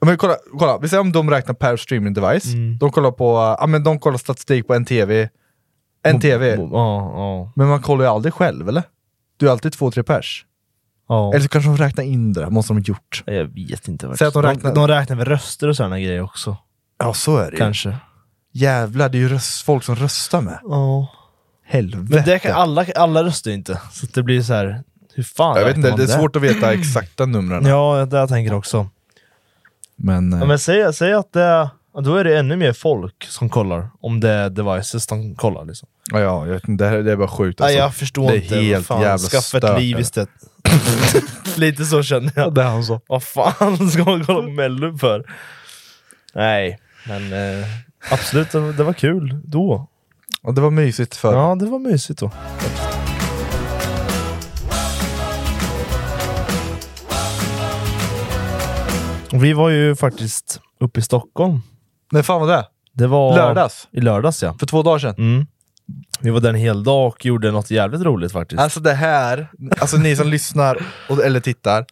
Ja, Men kolla, kolla, vi säger om de räknar per streaming device. Mm. De kollar på, ja men de kollar statistik på en tv. En tv. Ja, ja. Men man kollar ju aldrig själv eller? Du är alltid två, tre pers. ja. Eller så kanske de räknar in det, där, måste de ha gjort. Jag vet inte. Säg att de räknar- de, de räknar väl röster och sådana grejer också. Ja så är det ju. Kanske. Jävlar, det är ju röst, folk som röstar med. Ja. Helvete. Men det kan, alla, alla röstar ju inte. Så det blir så här. hur fan jag vet räknar inte, man det är svårt att veta exakta numren. Ja, det jag tänker också. Men, eh, Ja, men säg, säg att det är, ja, då är det ännu mer folk som kollar. Om det är devices de kollar liksom. ja, ja, jag vet inte, det, här, det är bara sjukt alltså. Nej, jag förstår det är inte. Vad Helt fan, jävla Skaffa stört, alltså. ett liv det. istället. Lite så känner jag. Det är han så. Vad fan ska man kolla på Mello för? Nej, men eh, absolut, det var- det var kul då. Ja, det var mysigt för Ja, det var mysigt då. Vi var ju faktiskt uppe i Stockholm. När fan var det? Det var Lördags? I lördags ja. För två dagar Mm. sedan? Vi var där en hel dag och gjorde något jävligt roligt faktiskt. Alltså det här, alltså ni som lyssnar och, eller tittar,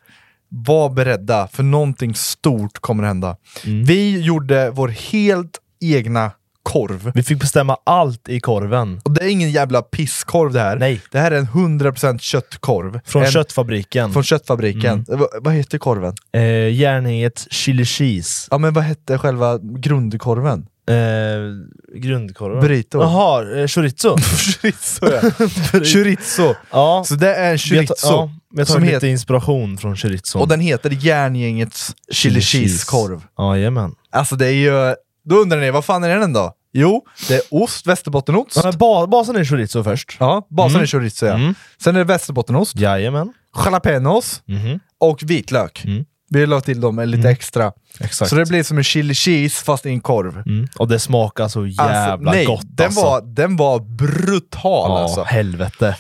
var beredda för någonting stort kommer hända. Mm. Vi gjorde vår helt egna korv. Vi fick bestämma allt i korven. Och det är ingen jävla pisskorv det här. Nej. Det här är en 100% köttkorv. Från en, köttfabriken. Mm. Från köttfabriken. Va- vad heter korven? Eh, Järnhängets chili cheese. Ja men vad hette själva grundkorven? Eh, grundkorven. Burrito. Jaha, eh, chorizo. Chorizo ja. chorizo. ja. Så det är en chorizo. Vi har, ta- ja, vi har som tagit lite heter, inspiration från chorizo. och den heter Järngängets chili cheese-korv. Jajamän. Alltså det är ju... Då undrar ni, vad fan är den då? Jo, det är ost, västerbottenost. Ja, men ba- basen är chorizo först. Ja, basen Mm. är chorizo ja. Mm. Sen är det västerbottenost, Jajamän. jalapenos Mhm. och vitlök. Mm. Vi la till dem lite extra. Exakt. Så det blir som en chili cheese fast i en korv. mm. Och det smakar så jävla Alltså, nej, gott den, alltså. var, den var brutal ja, alltså. helvete.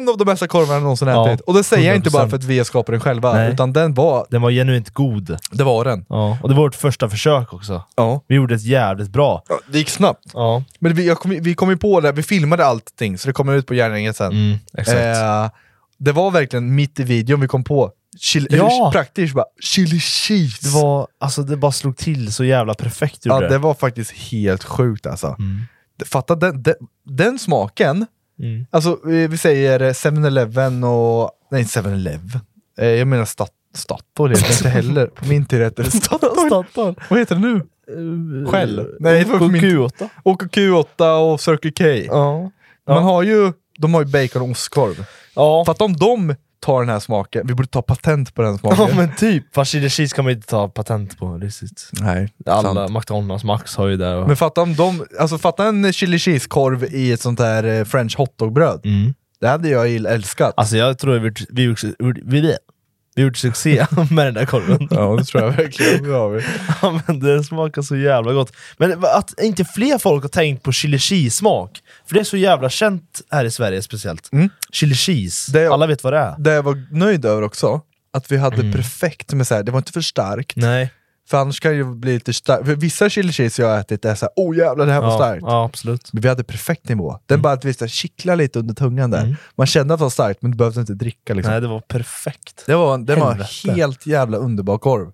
En av de bästa korvarna jag någonsin Ja, ätit. Och det säger jag inte bara 100%. för att vi skapar den själva, Nej. utan den var, Den var genuint god. det var den. Ja. Och det var vårt första försök också. Ja. Vi gjorde ett jävligt bra. Ja, Det gick snabbt. Ja, Men vi, jag kom, vi kom ju på det, vi filmade allting så det kommer ut på Järnringen sen. mm, exakt. Eh, det var verkligen mitt i videon vi kom på, chili, Ja. eller praktiskt bara, chili cheese. Det, var, alltså, det bara slog till så jävla perfekt ja, gjorde det var faktiskt helt sjukt alltså. Det- Fatta den, den, den smaken, Mm. alltså vi vi säger eh, 7-Eleven och, nej 7-Eleven, eh, jag menar stat, Statoil heter det inte heller, på min tid heter det Statoil. Statoil. Vad heter det nu? Eh, Shell? Nej, det var på min- Q8. Och Q8 och Circle K. Ja. Man har ju, de har ju bacon och ostkorv. Ja. För att om de tar den här smaken, vi borde ta patent på den smaken. ja, men typ. Fast chili cheese kan man inte ta patent på riktigt. Nej, Alla sant. McDonalds Max har ju det. Och... Men fatta om de, alltså fatta en chili cheese-korv i ett sånt här eh, french hotdogbröd. Mm. Det hade jag ill- älskat. Alltså jag tror vi har gjort, vi har gjort- gjort, vi har gjort succé med den där korven. Ja, det tror jag verkligen. Det har vi. Ja, men den smakar så jävla gott. Men att inte fler folk har tänkt på chili cheese-smak. För det är så jävla känt här i Sverige speciellt. Chili cheese. Mm. Det är- Alla vet vad det är. Det jag var nöjd över också, att vi hade perfekt med så här, det var inte för starkt. Mm. Nej. För annars kan det ju bli lite starkt. För vissa chili cheese jag har ätit är såhär, oh jävlar det här var Ja, starkt. ja, Mm. absolut. Men vi hade perfekt nivå. Den bara att vi så här kittlade lite under tungan Mm. där. Man kände att det var starkt men du behövde inte dricka liksom. Nej, det var perfekt. Det var, det var Helvete. helt jävla underbar korv.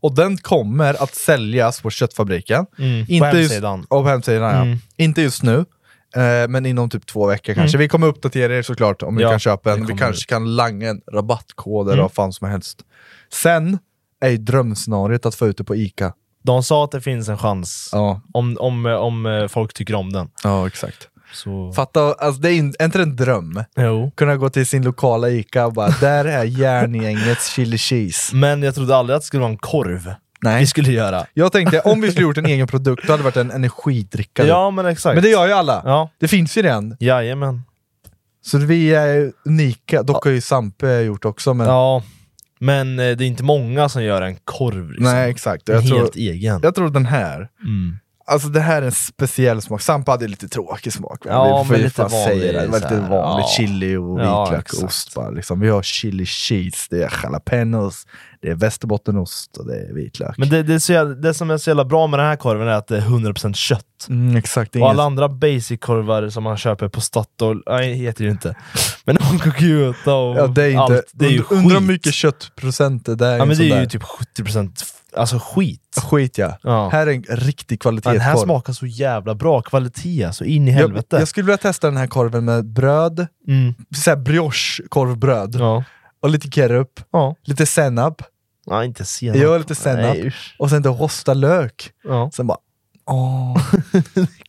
Och den kommer att säljas på köttfabriken. Mm, på hemsidan. Just, ja, på hemsidan Mm. ja. Inte just nu, eh, men inom typ två veckor kanske. Vi kommer uppdatera er såklart om Mm. Ja, ni kan köpa det en. Vi kommer Mm. kanske ut. kan langa en rabattkod eller vad fan som helst. Sen är ju drömscenariot att få ut det på ICA. De sa att det finns en chans. Ja, Om, om, om eh, folk tycker om den. ja exakt. Så... Fatta, alltså det är in, är inte en dröm. Jo. Kunna gå till sin lokala ICA och bara, där är järngängets chili cheese. Men jag trodde aldrig att det skulle vara en korv Nej. vi skulle göra. Jag tänkte, om vi skulle gjort en egen produkt, då hade det varit en energidricka. Ja, men exakt. Men det gör ju alla. Ja. Det finns ju redan. Jajamän. Så vi är ju unika. Dock har ju Sampe gjort också, men... Ja. Men eh, det är inte många som gör en korv. Liksom. Nej, exakt. En Jag tror, helt egen. Mm. jag tror den här. Alltså det här är en speciell smak. Sampe hade lite tråkig smak. va? Ja, vi men ju lite fan säga vanlig det. så Det var lite här, vanligt. ja. Chili och Ja, vitlök exakt. och ost bara. Liksom. Vi har chili cheese, det är jalapenos, det är västerbottenost och det är vitlök. Men det, det, är så jävla, det som är så jävla bra med den här korven är att det är 100% kött. mm, exakt, det är Och inget- alla andra basic-korvar som man köper på Statoil, nej heter det ju inte. Men Onkokuta och ja, det är inte, allt, det är ju und- Undrar hur skit. mycket köttprocent det där är. i Ja en men sån det är där. ju typ 70% f- alltså skit. Skit ja. Ja. Här är en riktig Ja, Den här kvalitetskorv. smakar så jävla bra, kvalitet så in i jag, helvete. jag skulle vilja testa den här korven med bröd, Mm. såhär brioche-korvbröd, Ja. och lite kerup, Ja. lite senap, Nej, inte senap. jag har lite senap, Nej, usch. och sen det rostad lök. Ja. Sen bara, åh.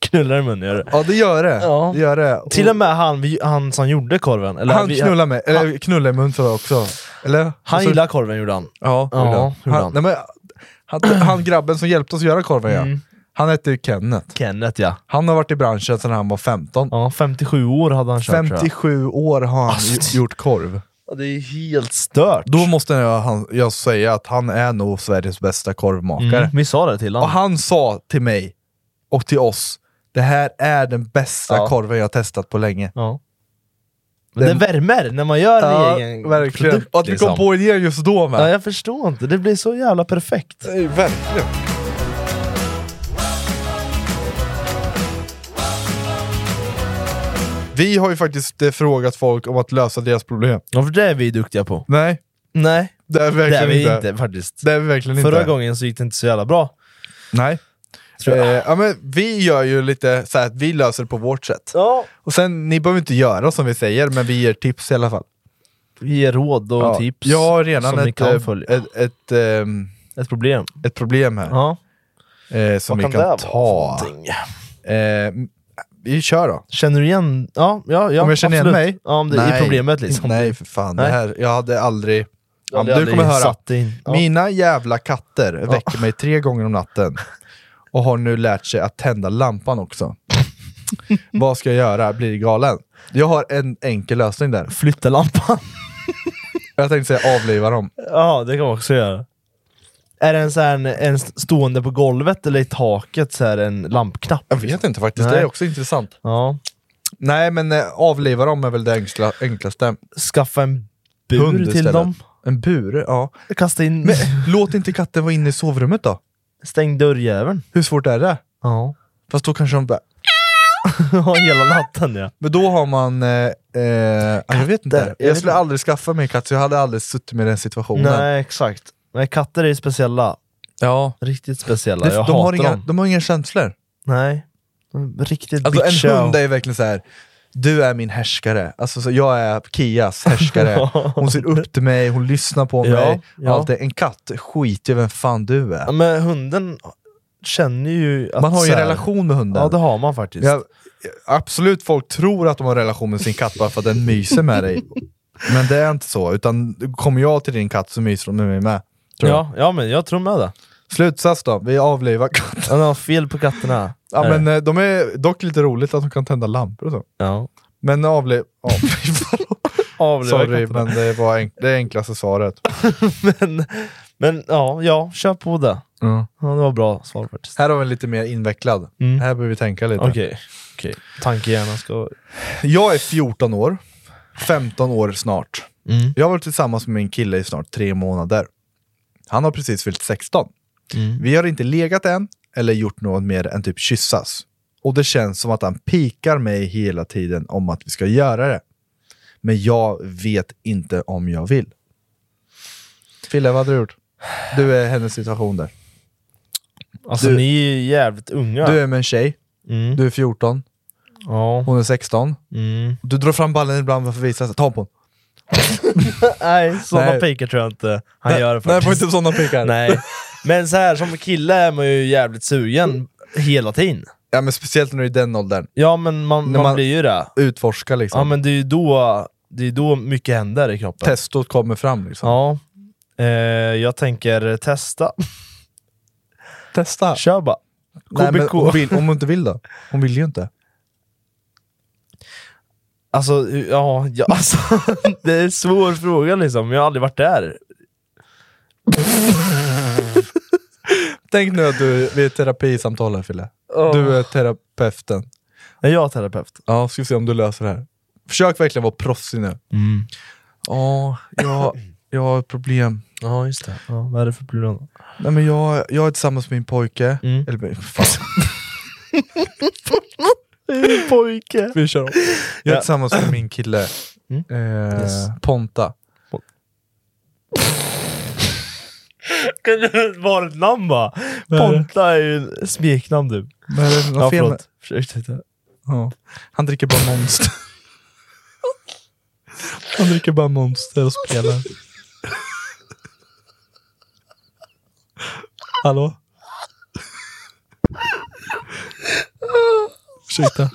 Knullar i munnen gör det. Ja det gör det. Ja. det, gör det. Och Till och med han, vi- han som gjorde korven, eller han vi, knullar mig, eller knullar i mun tror jag också. Eller? han Så- gillar korven gjorde han. Ja, Ja, gjorde han. gjorde han, han. nej, men, han, han grabben som hjälpte oss göra korven ja. Mm. Han hette ju Kenneth. Kenneth ja. Han har varit i branschen sedan han var 15. Ja, 57 år hade han kört tror jag. 57 år har han Alltså, ju- det- gjort korv. Ja, Det är helt stört. Då måste jag, han, jag säga att han är nog Sveriges bästa korvmakare. Mm, vi sa det till Och honom. han sa till mig och till oss, det här är den bästa Ja. korven jag testat på länge. Ja. Men det värmer när man gör en egen verkligen. produkt. och att vi kom liksom. på idén just då med. Ja, jag förstår inte, det blir så jävla perfekt. Nej, Verkligen. Vi har ju faktiskt eh, frågat folk om att lösa deras problem. Ja, för det är vi duktiga på. Nej, Nej, det är vi det är verkligen vi inte. inte, faktiskt. Det är vi verkligen Förra inte. gången så gick det inte så jävla bra. Nej. Tror Eh, ja, men vi gör ju lite så här att vi löser det på vårt sätt. Ja. Och sen, ni behöver inte göra som vi säger, men vi ger tips i alla fall. Vi ger råd och Ja. tips Jag har redan som ni ett, kan eh, följa. Ett, ett, ett, ehm, problem. ett problem här Ja. eh, Vad som vi kan kan, det vara för ta. någonting? Eh, vi kör då. Känner du igen... Ja, ja, ja om jag känner igen absolut. mig? Ja, om det är problemet liksom. Nej, för fan. Nej. Det här, jag hade aldrig... Jag hade Ja, du aldrig kommer höra. satt det in. Ja. Mina jävla katter väcker mig tre gånger om natten och har nu lärt sig att tända lampan också. Vad ska jag göra? Blir det galen? Jag har en enkel lösning där. Flytta lampan. Jag tänkte säga avliva dem. ja, det kan man också göra. Är den så här en, en stående på golvet eller i taket så här en lampknapp? Jag vet inte faktiskt, det Nej. är också intressant. Ja. Nej, men eh, avliva dem är väl det enkla, enklaste. Skaffa en bur Hund till istället. dem. En bur, ja. Kasta in... Men eh, låt inte katten vara inne i sovrummet då. Stäng dörrjäveln. Hur svårt är det? Ja. Fast då kanske de bara... Hela natten ja. Men då har man... Eh, eh, jag vet inte. jag Jag, vet skulle inte. aldrig skaffa mig en katt, så jag hade aldrig suttit med i den situationen. Nej, exakt. Nej, katter är ju speciella. Ja. Riktigt speciella. Det, jag de, hatar har inga, dem. de har inga känslor. Nej. De är Riktigt Alltså bitch en show. hund är verkligen så här. du är min härskare. Alltså så jag är Kias härskare. Hon ser upp till mig, hon lyssnar på Ja, mig. ja. Allt det. En katt skiter ju vem fan du är. Ja, men hunden känner ju att Man har ju en så här- relation med hunden. Ja, det har man faktiskt. Ja, absolut, folk tror att de har en relation med sin katt bara för att den myser med dig. Men det är inte så, utan kommer jag till din katt så myser de med mig med. Tror jag. ja, ja, men jag tror med det. Slutsats då, vi avlivar katten. Han har fel på katterna. Ja, Är men det? eh, de är dock lite roligt att de kan tända lampor och så. ja. Men avliv... Ja, förlåt. Avliva eh, Sorry, katterna. men det var enk- det enklaste svaret. men... men ja, ja, kör på det. Ja, det var bra svar faktiskt. Här har vi en lite mer invecklad. Mm. Här behöver vi tänka lite. Okej. okej. Tankehjärnan ska... Jag är 14 år, 15 år snart. Jag har varit tillsammans med min kille i snart tre månader. Han har precis fyllt 16. Vi har inte legat än eller gjort något mer än typ kyssas. Och det känns som att han pikar mig hela tiden om att vi ska göra det. Men jag vet inte om jag vill. Fille, vad hade du gjort? Du är hennes situation där. Alltså Du- ni är ju jävligt unga. Du är med en tjej, Mm. du är 14, Ja. hon är 16. Mm. Du drar fram ballen ibland för att visa sig. Ta på hon. Nej, sådana Nej. pikar tror jag inte han gör Nej, faktiskt. får inte sådana pikar. Nej. Men så här som kille är man ju jävligt sugen hela tiden. Ja, men speciellt när du är i den åldern. Ja men man, När man, man- blir ju det. Utforska liksom. Ja men det är ju då, det är då mycket händer i kroppen. Testot kommer fram liksom. Ja. Eh, jag tänker testa. Testa. Kör bara. Nej, men KBK. hon vill, om hon inte vill då? Hon vill ju inte. Alltså, ja, ja alltså, det är en svår fråga liksom. Jag har aldrig varit där. Tänk nu att du vi är ett terapisamtal här Fille. Du är terapeuten. Nej, jag är terapeut. Ja, Mm. ska vi se om du löser det här. Försök verkligen vara proffsig nu. Ja, jag, jag har ett problem. Ja, just det. Ja, vad är det för problem? Nej, men jag, jag är tillsammans med min pojke. Mm. Eller men, fan, Pojke! vi kör om. Ja. Jag är Mm. tillsammans med min kille. Eh, Ponta. Kan det vara ett namn va? är det? Ponta är ju en smeknamn typ. Vad är det för något Ja, fel med- förlåt. Försökte hitta. Ja. Han dricker bara Monster. Han dricker bara Monster och spelar. Hallå? Ursäkta.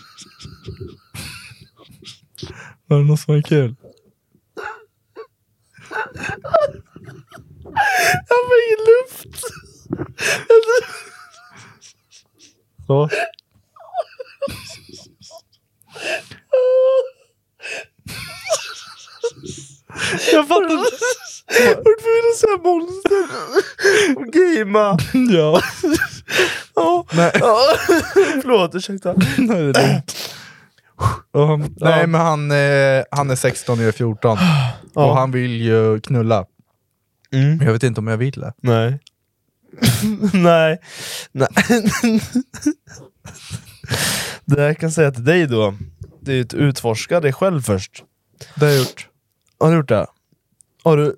Var det något som var kul? Jag får ingen luft! Så. Jag fattar inte. Varför vill du säga monster? Och gamea. Ja. Ja. Nej, Förlåt, ursäkta. nej, det är lugnt. Um, nej men han, eh, han är 16 och jag är 14. Och han vill ju knulla. Mm. Men jag vet inte om jag vill det. Nej. Nej. Nej. det jag kan säga till dig då, det är ju att utforska dig själv först. Det har jag gjort. Har du gjort det? Har du...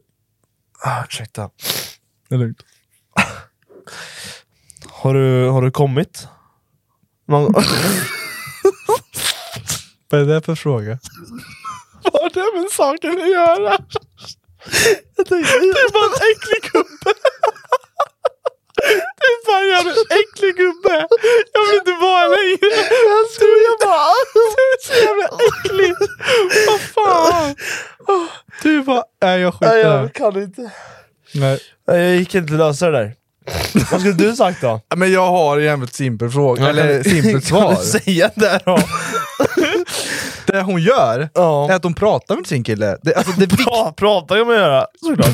Ah, ursäkta. Det är lugnt. Har du, har du kommit? Man... Vad är det för fråga? Vad har det med saken att göra? Jag tänkte, det är bara en äcklig gubbe. Det är fan jag är en äcklig gubbe. Jag vill inte vara längre. Jag tror jag bara... Du är så jävla äcklig. Vad fan. Du var... Nej jag skiter Nej, i det jag här. kan inte. Nej. Nej, jag gick inte lösa det där. Vad skulle du sagt då? Men jag har en jävligt simpel fråga, eller simpelt Kan svar. du säga det då? Det hon gör Ja. är att hon pratar med sin kille. Det, alltså, det, vik- Pra, prata kan man göra. Såklart.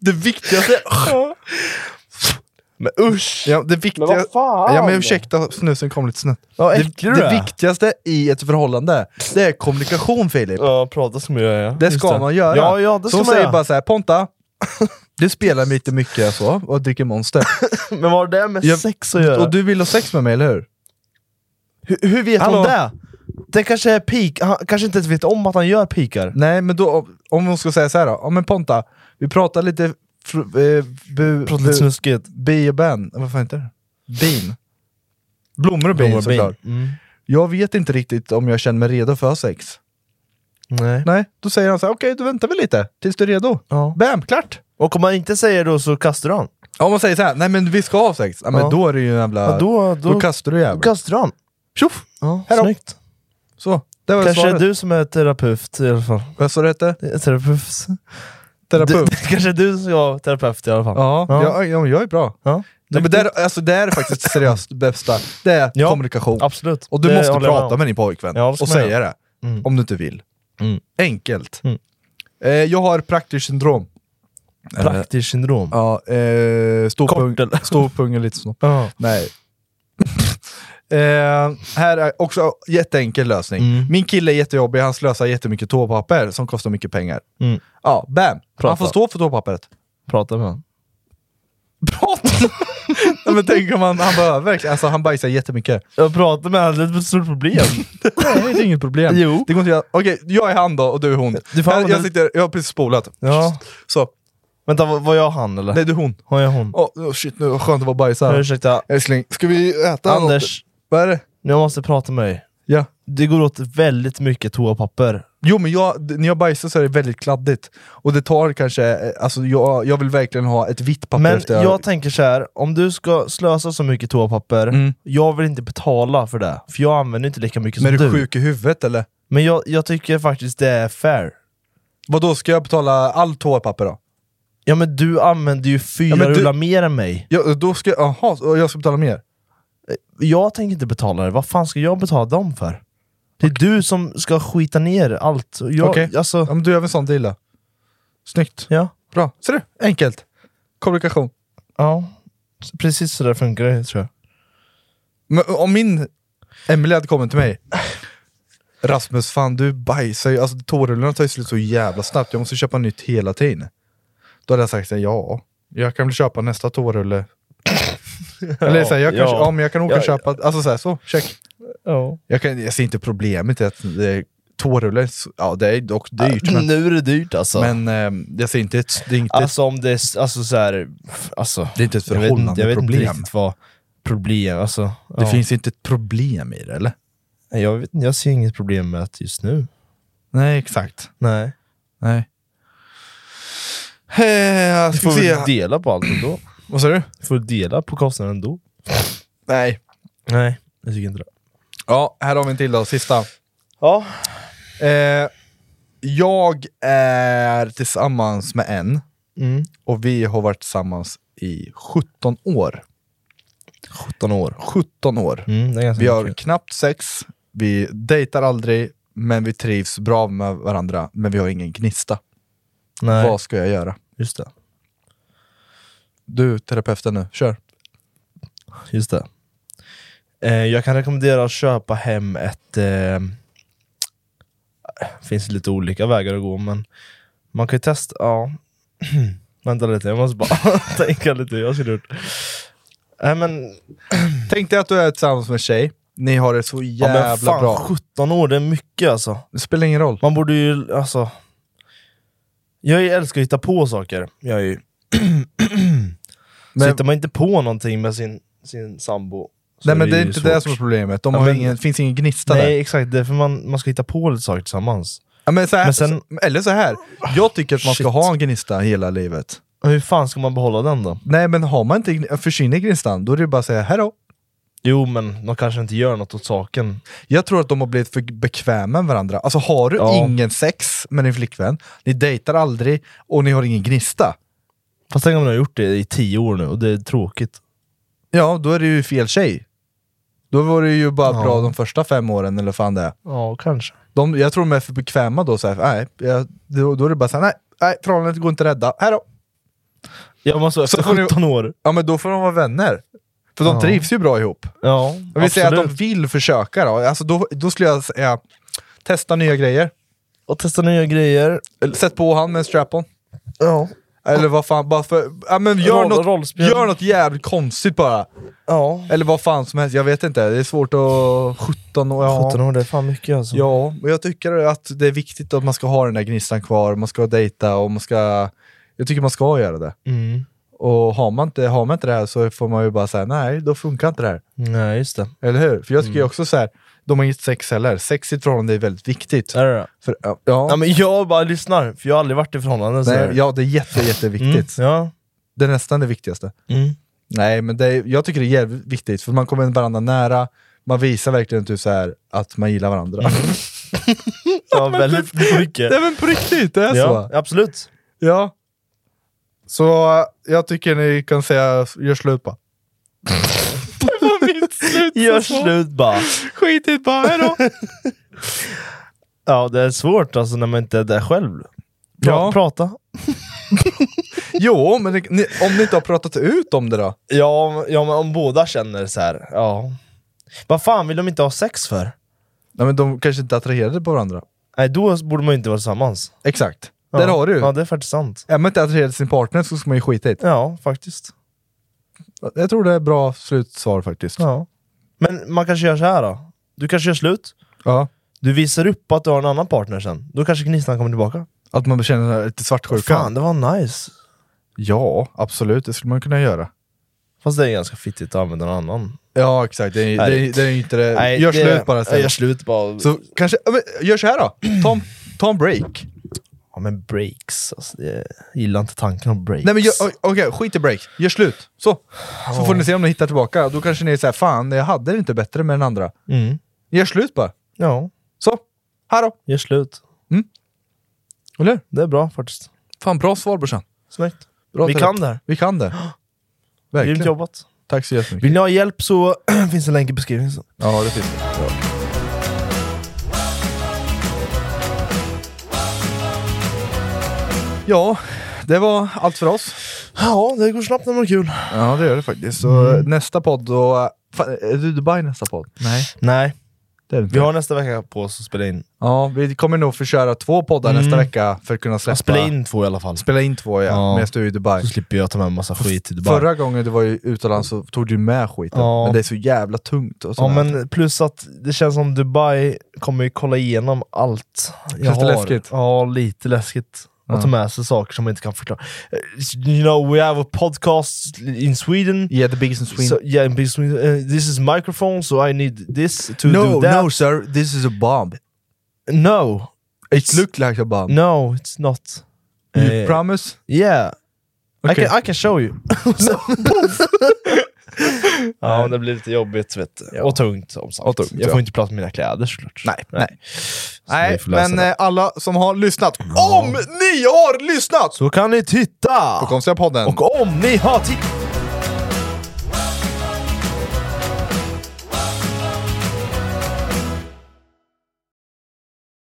det viktigaste... Men usch. Ja, det viktigaste... vad fan? Ja men ursäkta, snusen kom lite snett. Ja, det, äcklig du det är. viktigaste i ett förhållande, det är kommunikation Filip. Ja, prata som jag gör. ja. Det Just ska man göra. Ja, ja, det så ska hon man säger göra. bara så här, Ponta, du spelar lite mycket så, och dricker monster. Men vad har det med Jag- sex att göra? Och du vill ha sex med mig, eller hur? hur, hur vet Hallå? hon det? Det kanske är peak. Han kanske inte ens vet om att han gör pikar. Nej, men då, om hon ska säga så här då. Ja men Ponta, vi pratar lite... Fr- eh, bu, Prata lite bu, snuskigt. bi och ben. Vad fan heter det? Bin. Blommor och bin Blommor och bin. Mm. såklart. Jag vet inte riktigt om jag känner mig redo för sex. Nej. Nej, då säger han så här, okej då väntar vi lite tills du är redo. Ja. Bam, klart! Och om han inte säger då så kastar han. Om man säger så här, nej men vi ska ha sex. Ja, men Ja. då är det ju en jävla... Ja, då, då, då kastar du då jäveln. kastar han. Tjoff! Ja, Här då. snyggt. Så, det var Kanske är svaret. du som är terapeut i alla fall. Vad sa du hette? Terapeut. Terapeut? Du, kanske är du som är terapeut i alla fall. Ja, Ja. ja. ja, jag är bra. Ja. Nej, men där, alltså, det är faktiskt seriöst det bästa, det är Ja, kommunikation. Absolut. Och du Det måste håller jag prata om. med din pojkvän Ja, det ska och man säga det. Om du inte vill. Mm. Enkelt. Mm. Eh, jag har praktiskt syndrom. Praktiskt syndrom. Ja, eh, stor, Kort, pung, eller? stor pung och lite snopp. Ja. Nej. eh, här är också jätteenkel lösning. Min kille är jättejobbig, han slösar jättemycket toapapper som kostar mycket pengar. Mm. Ja, bam! Han Prata. får stå för toapappret. Prata med honom. Prata! Nej, men tänk om han, han behöver, alltså han bajsar jättemycket. Jag pratar med honom, det är ett stort problem. Nej, det är inget problem. Jo. Det går inte att göra. Okej, jag är han då och du är hon. Du får jag, jag, använda- sitter, jag har precis spolat. Ja. Så, Vänta, var var jag han eller? nej du är hon. Har jag hon? Åh oh, shit, nu var skönt att vara bajsar. Ursäkta, Älskling, ska vi äta något? Anders. Vad är det? Jag måste prata med dig. Ja. Det går åt väldigt mycket toapapper. Jo men jag, d- när jag bajsar så är det väldigt kladdigt. Och det tar kanske, eh, alltså jag, jag vill verkligen ha ett vitt papper Men efter jag, tänker så här, om du ska slösa så mycket toapapper, Mm. jag vill inte betala för det. För jag använder inte lika mycket Men är som du du. sjuk i huvudet eller? Men jag, jag tycker faktiskt det är fair. Vad då ska jag betala all toapapper då? Ja men du använder ju fyra men du- rullar mer än mig. Ja, då ska, aha, så jag ska betala mer? Jag tänker inte betala det, vad fan ska jag betala dem för? Det är du som ska skita ner allt. Och Jag, Okej, alltså, ja, men du gör väl en sån deal då? Snyggt, ja. bra. Ser du? Enkelt. Kommunikation. ja. Precis så där funkar det tror jag. eh, Men om min Emelie hade kommit till mig Rasmus, fan du bajsar ju. Alltså tårullarna tar ju slut så jävla snabbt. Jag måste köpa nytt hela tiden. Då hade jag sagt så här, ja, jag kan väl köpa nästa tårulle. Eller så här, jag kan, ja. ja. men jag kan åka Ja, och köpa. Alltså så, här, så check. Ja. Jag, kan, jag ser inte problemet i att eh, tårullar, är så- ja det är dock dyrt. Men, Nu är det dyrt alltså. men eh, jag ser inte ett, det är inte alltså om det, är- alltså så här, alltså. Det är inte ett jag vet inte- Jag vet inte förhållandeproblem. riktigt vad problem, alltså. Det ja. finns inte ett problem i det, eller? Nej, Jag, vet, jag ser inget problem med att just nu. Nej, exakt. Nej. Nej. Eh, jag Du ska får se. väl dela på allt ändå. Vad sa du? Du får väl dela på kostnaden ändå. Nej. Nej, jag tycker inte det. Ja, här har vi en till då, sista. Ja. Eh, jag är tillsammans med en Mm. och vi har varit tillsammans i 17 år. 17 år. 17 år. Mm, det är ganska Vi har mycket. knappt sex, vi dejtar aldrig, men vi trivs bra med varandra, men vi har ingen gnista. Nej, Vad ska jag göra? just det. Du, terapeuten nu, kör. Just det. Eh, jag kan rekommendera att köpa hem ett... Eh, finns lite olika vägar att gå, men man kan ju testa... Ja. Vänta lite, jag måste bara tänka lite hur jag skulle gjort. Nej men, Tänk dig att du är tillsammans med en tjej, ni har det så ja, jävla men fan, bra. 17 år, det är mycket alltså. Det spelar ingen roll. Man borde ju, alltså... Jag älskar att hitta på saker. Jag är ju... Men- Så hittar man inte på någonting med sin, sin sambo... så Nej men det är ju inte svårt. det som är problemet, de Ja, har men- ingen, finns ingen gnista där. Nej exakt, det är för man, man ska hitta på lite saker tillsammans. Ja, men så här, Men sen- så- eller så här. jag tycker att man ska Shit. ha en gnista hela livet. Och hur fan ska man behålla den då? Nej men har man inte, gn- försvinner gnistan, då är det bara att säga hejdå. Jo men de kanske inte gör något åt saken. Jag tror att de har blivit för bekväma med varandra. Alltså har du Ja. ingen sex med din flickvän, ni dejtar aldrig och ni har ingen gnista. Fast tänk om de har gjort det i tio år nu och det är tråkigt. Ja, då är det ju fel tjej. Då var det ju bara Ja. bra de första fem åren eller fan det är. Ja, kanske. de, Jag tror de är för bekväma då, så här, nej, jag, då, då är det bara såhär, nej, nej, förhållandet går inte att rädda, hejdå. Ja men så efter får ni- 17 år. Ja men då får de vara vänner. För de Ja. trivs ju bra ihop. Ja, Om vi säger att de absolut. vill försöka då, alltså då, då skulle jag säga testa nya grejer. Och testa nya grejer. Eller Sätt på han med en strap-on. Ja. Eller vad fan, bara för, ja, men gör, Roll- något, rollspel. gör något jävligt konstigt bara. Ja. Eller vad fan som helst, jag vet inte. Det är svårt att... 17 år, ja. 17 år, det är fan mycket alltså. Ja, och jag tycker att det är viktigt att man ska ha den där gnistan kvar, man ska dejta och man ska... Jag tycker man ska göra det. Mm. Och har man inte, har man inte det här så får man ju bara säga nej, då funkar inte det här. Nej, just det. Eller hur? För jag Mm. tycker ju också så här, de har inget sex heller. Sex i ett förhållande är väldigt viktigt. Är det det? För, ja, ja, Ja, men jag bara lyssnar, för jag har aldrig varit i förhållanden. så här. nej, ja, det är jätte, jätteviktigt. Mm, ja. Det är nästan det viktigaste. Mm. Nej, men det är, jag tycker det är jävligt viktigt, för man kommer varandra nära, man visar verkligen typ så här, att man gillar varandra. Mm. ja, väldigt mycket. Nej men på riktigt, det är Ja, så. absolut. Ja. Så eh, jag tycker ni kan säga, gör slut bara. Gör slut bara. Skit i det bara, hejdå! Ja, det är svårt alltså när man inte är där själv. Pra- Ja. Prata. jo, men det, ni, om ni inte har pratat ut om det då? Ja, om- ja, men om båda känner så här. ja. Vad fan vill de inte ha sex för? Nej men de kanske inte är attraherade på varandra. Nej, då borde man ju inte vara tillsammans. Exakt. Ja. Där har du ju. Ja, det är faktiskt sant. Är man inte attraherad till sin partner så ska man ju skita i det. Ja, faktiskt. Jag tror det är bra slutsvar faktiskt. Ja. Men man kanske gör så här då. Du kanske gör slut, Ja. du visar upp att du har en annan partner sen. Då kanske gnistan kommer tillbaka. Att man känner sig lite svartsjuka. Fan, det var nice. Ja, absolut. Det skulle man kunna göra. Fast det är ganska fittigt att använda någon annan. Ja, exakt. Det är, det är, det är inte det. Nej, gör det- slut bara Ja, sen. Gör slut bara. Så kanske, ja, men gör så här då. Ta, en- ta en break. Ja men breaks, alltså, det- jag gillar inte tanken om breaks. Nej men gör- o- okej, skit i break. Gör slut. Så. Så får ni se om ni hittar tillbaka. Då kanske ni är såhär, fan jag hade det inte bättre med den andra. Mm. Gör slut bara. Ja, Så. Här då. gör slut. Eller hur? Det är bra faktiskt. Fan bra svar brorsan. Snyggt. Bra Vi terapi. kan det här. Vi kan det. Grymt Verkligen. jobbat. Tack så jättemycket. Vill ni ha hjälp så finns en länk i beskrivningen. sen. Ja, det finns det. Ja, det var allt för oss. Ja, det går snabbt när man har kul. Ja, Mm. eh, det gör det faktiskt. Så nästa podd då... Fan, är du i Dubai nästa podd? Nej. Nej, Det är det inte. Vi har nästa vecka på oss att spela in. Ja, vi kommer nog få köra två poddar nästa vecka för att kunna Mm. släppa... Spela in två i alla fall. spela in två ja, Ja. medan du är i Dubai. Så slipper jag ta med en massa skit till Dubai. Förra gången du var ju utomlands så tog du med skiten, Ja. men det är så jävla tungt. Och Ja sådär. men plus att det känns som Dubai kommer ju kolla igenom allt jag Känns det har. läskigt? Ja, lite läskigt. Ja. Att ta med sig saker som man inte kan förklara. Eh, You know, we have a podcast in Sweden. Yeah, the biggest in Sweden. So, yeah, in Sweden. Uh, this is microphone, so I need this to no, do that. no sir, this is a bomb. no, It looked like a bomb. no, it's not. You Eh, promise? Yeah, Okay. I, can, I can show you. Så, poof. ja, det blir lite jobbigt vet du. Eh, Och tungt som sagt. Och tungt, jag ja. får inte plats med mina kläder såklart. Nej, nej. Så vi Nej, får lösa men det. eh, alla som har lyssnat, om ni har lyssnat! Så kan ni titta! På konstiga podden. Och om ni har tittat...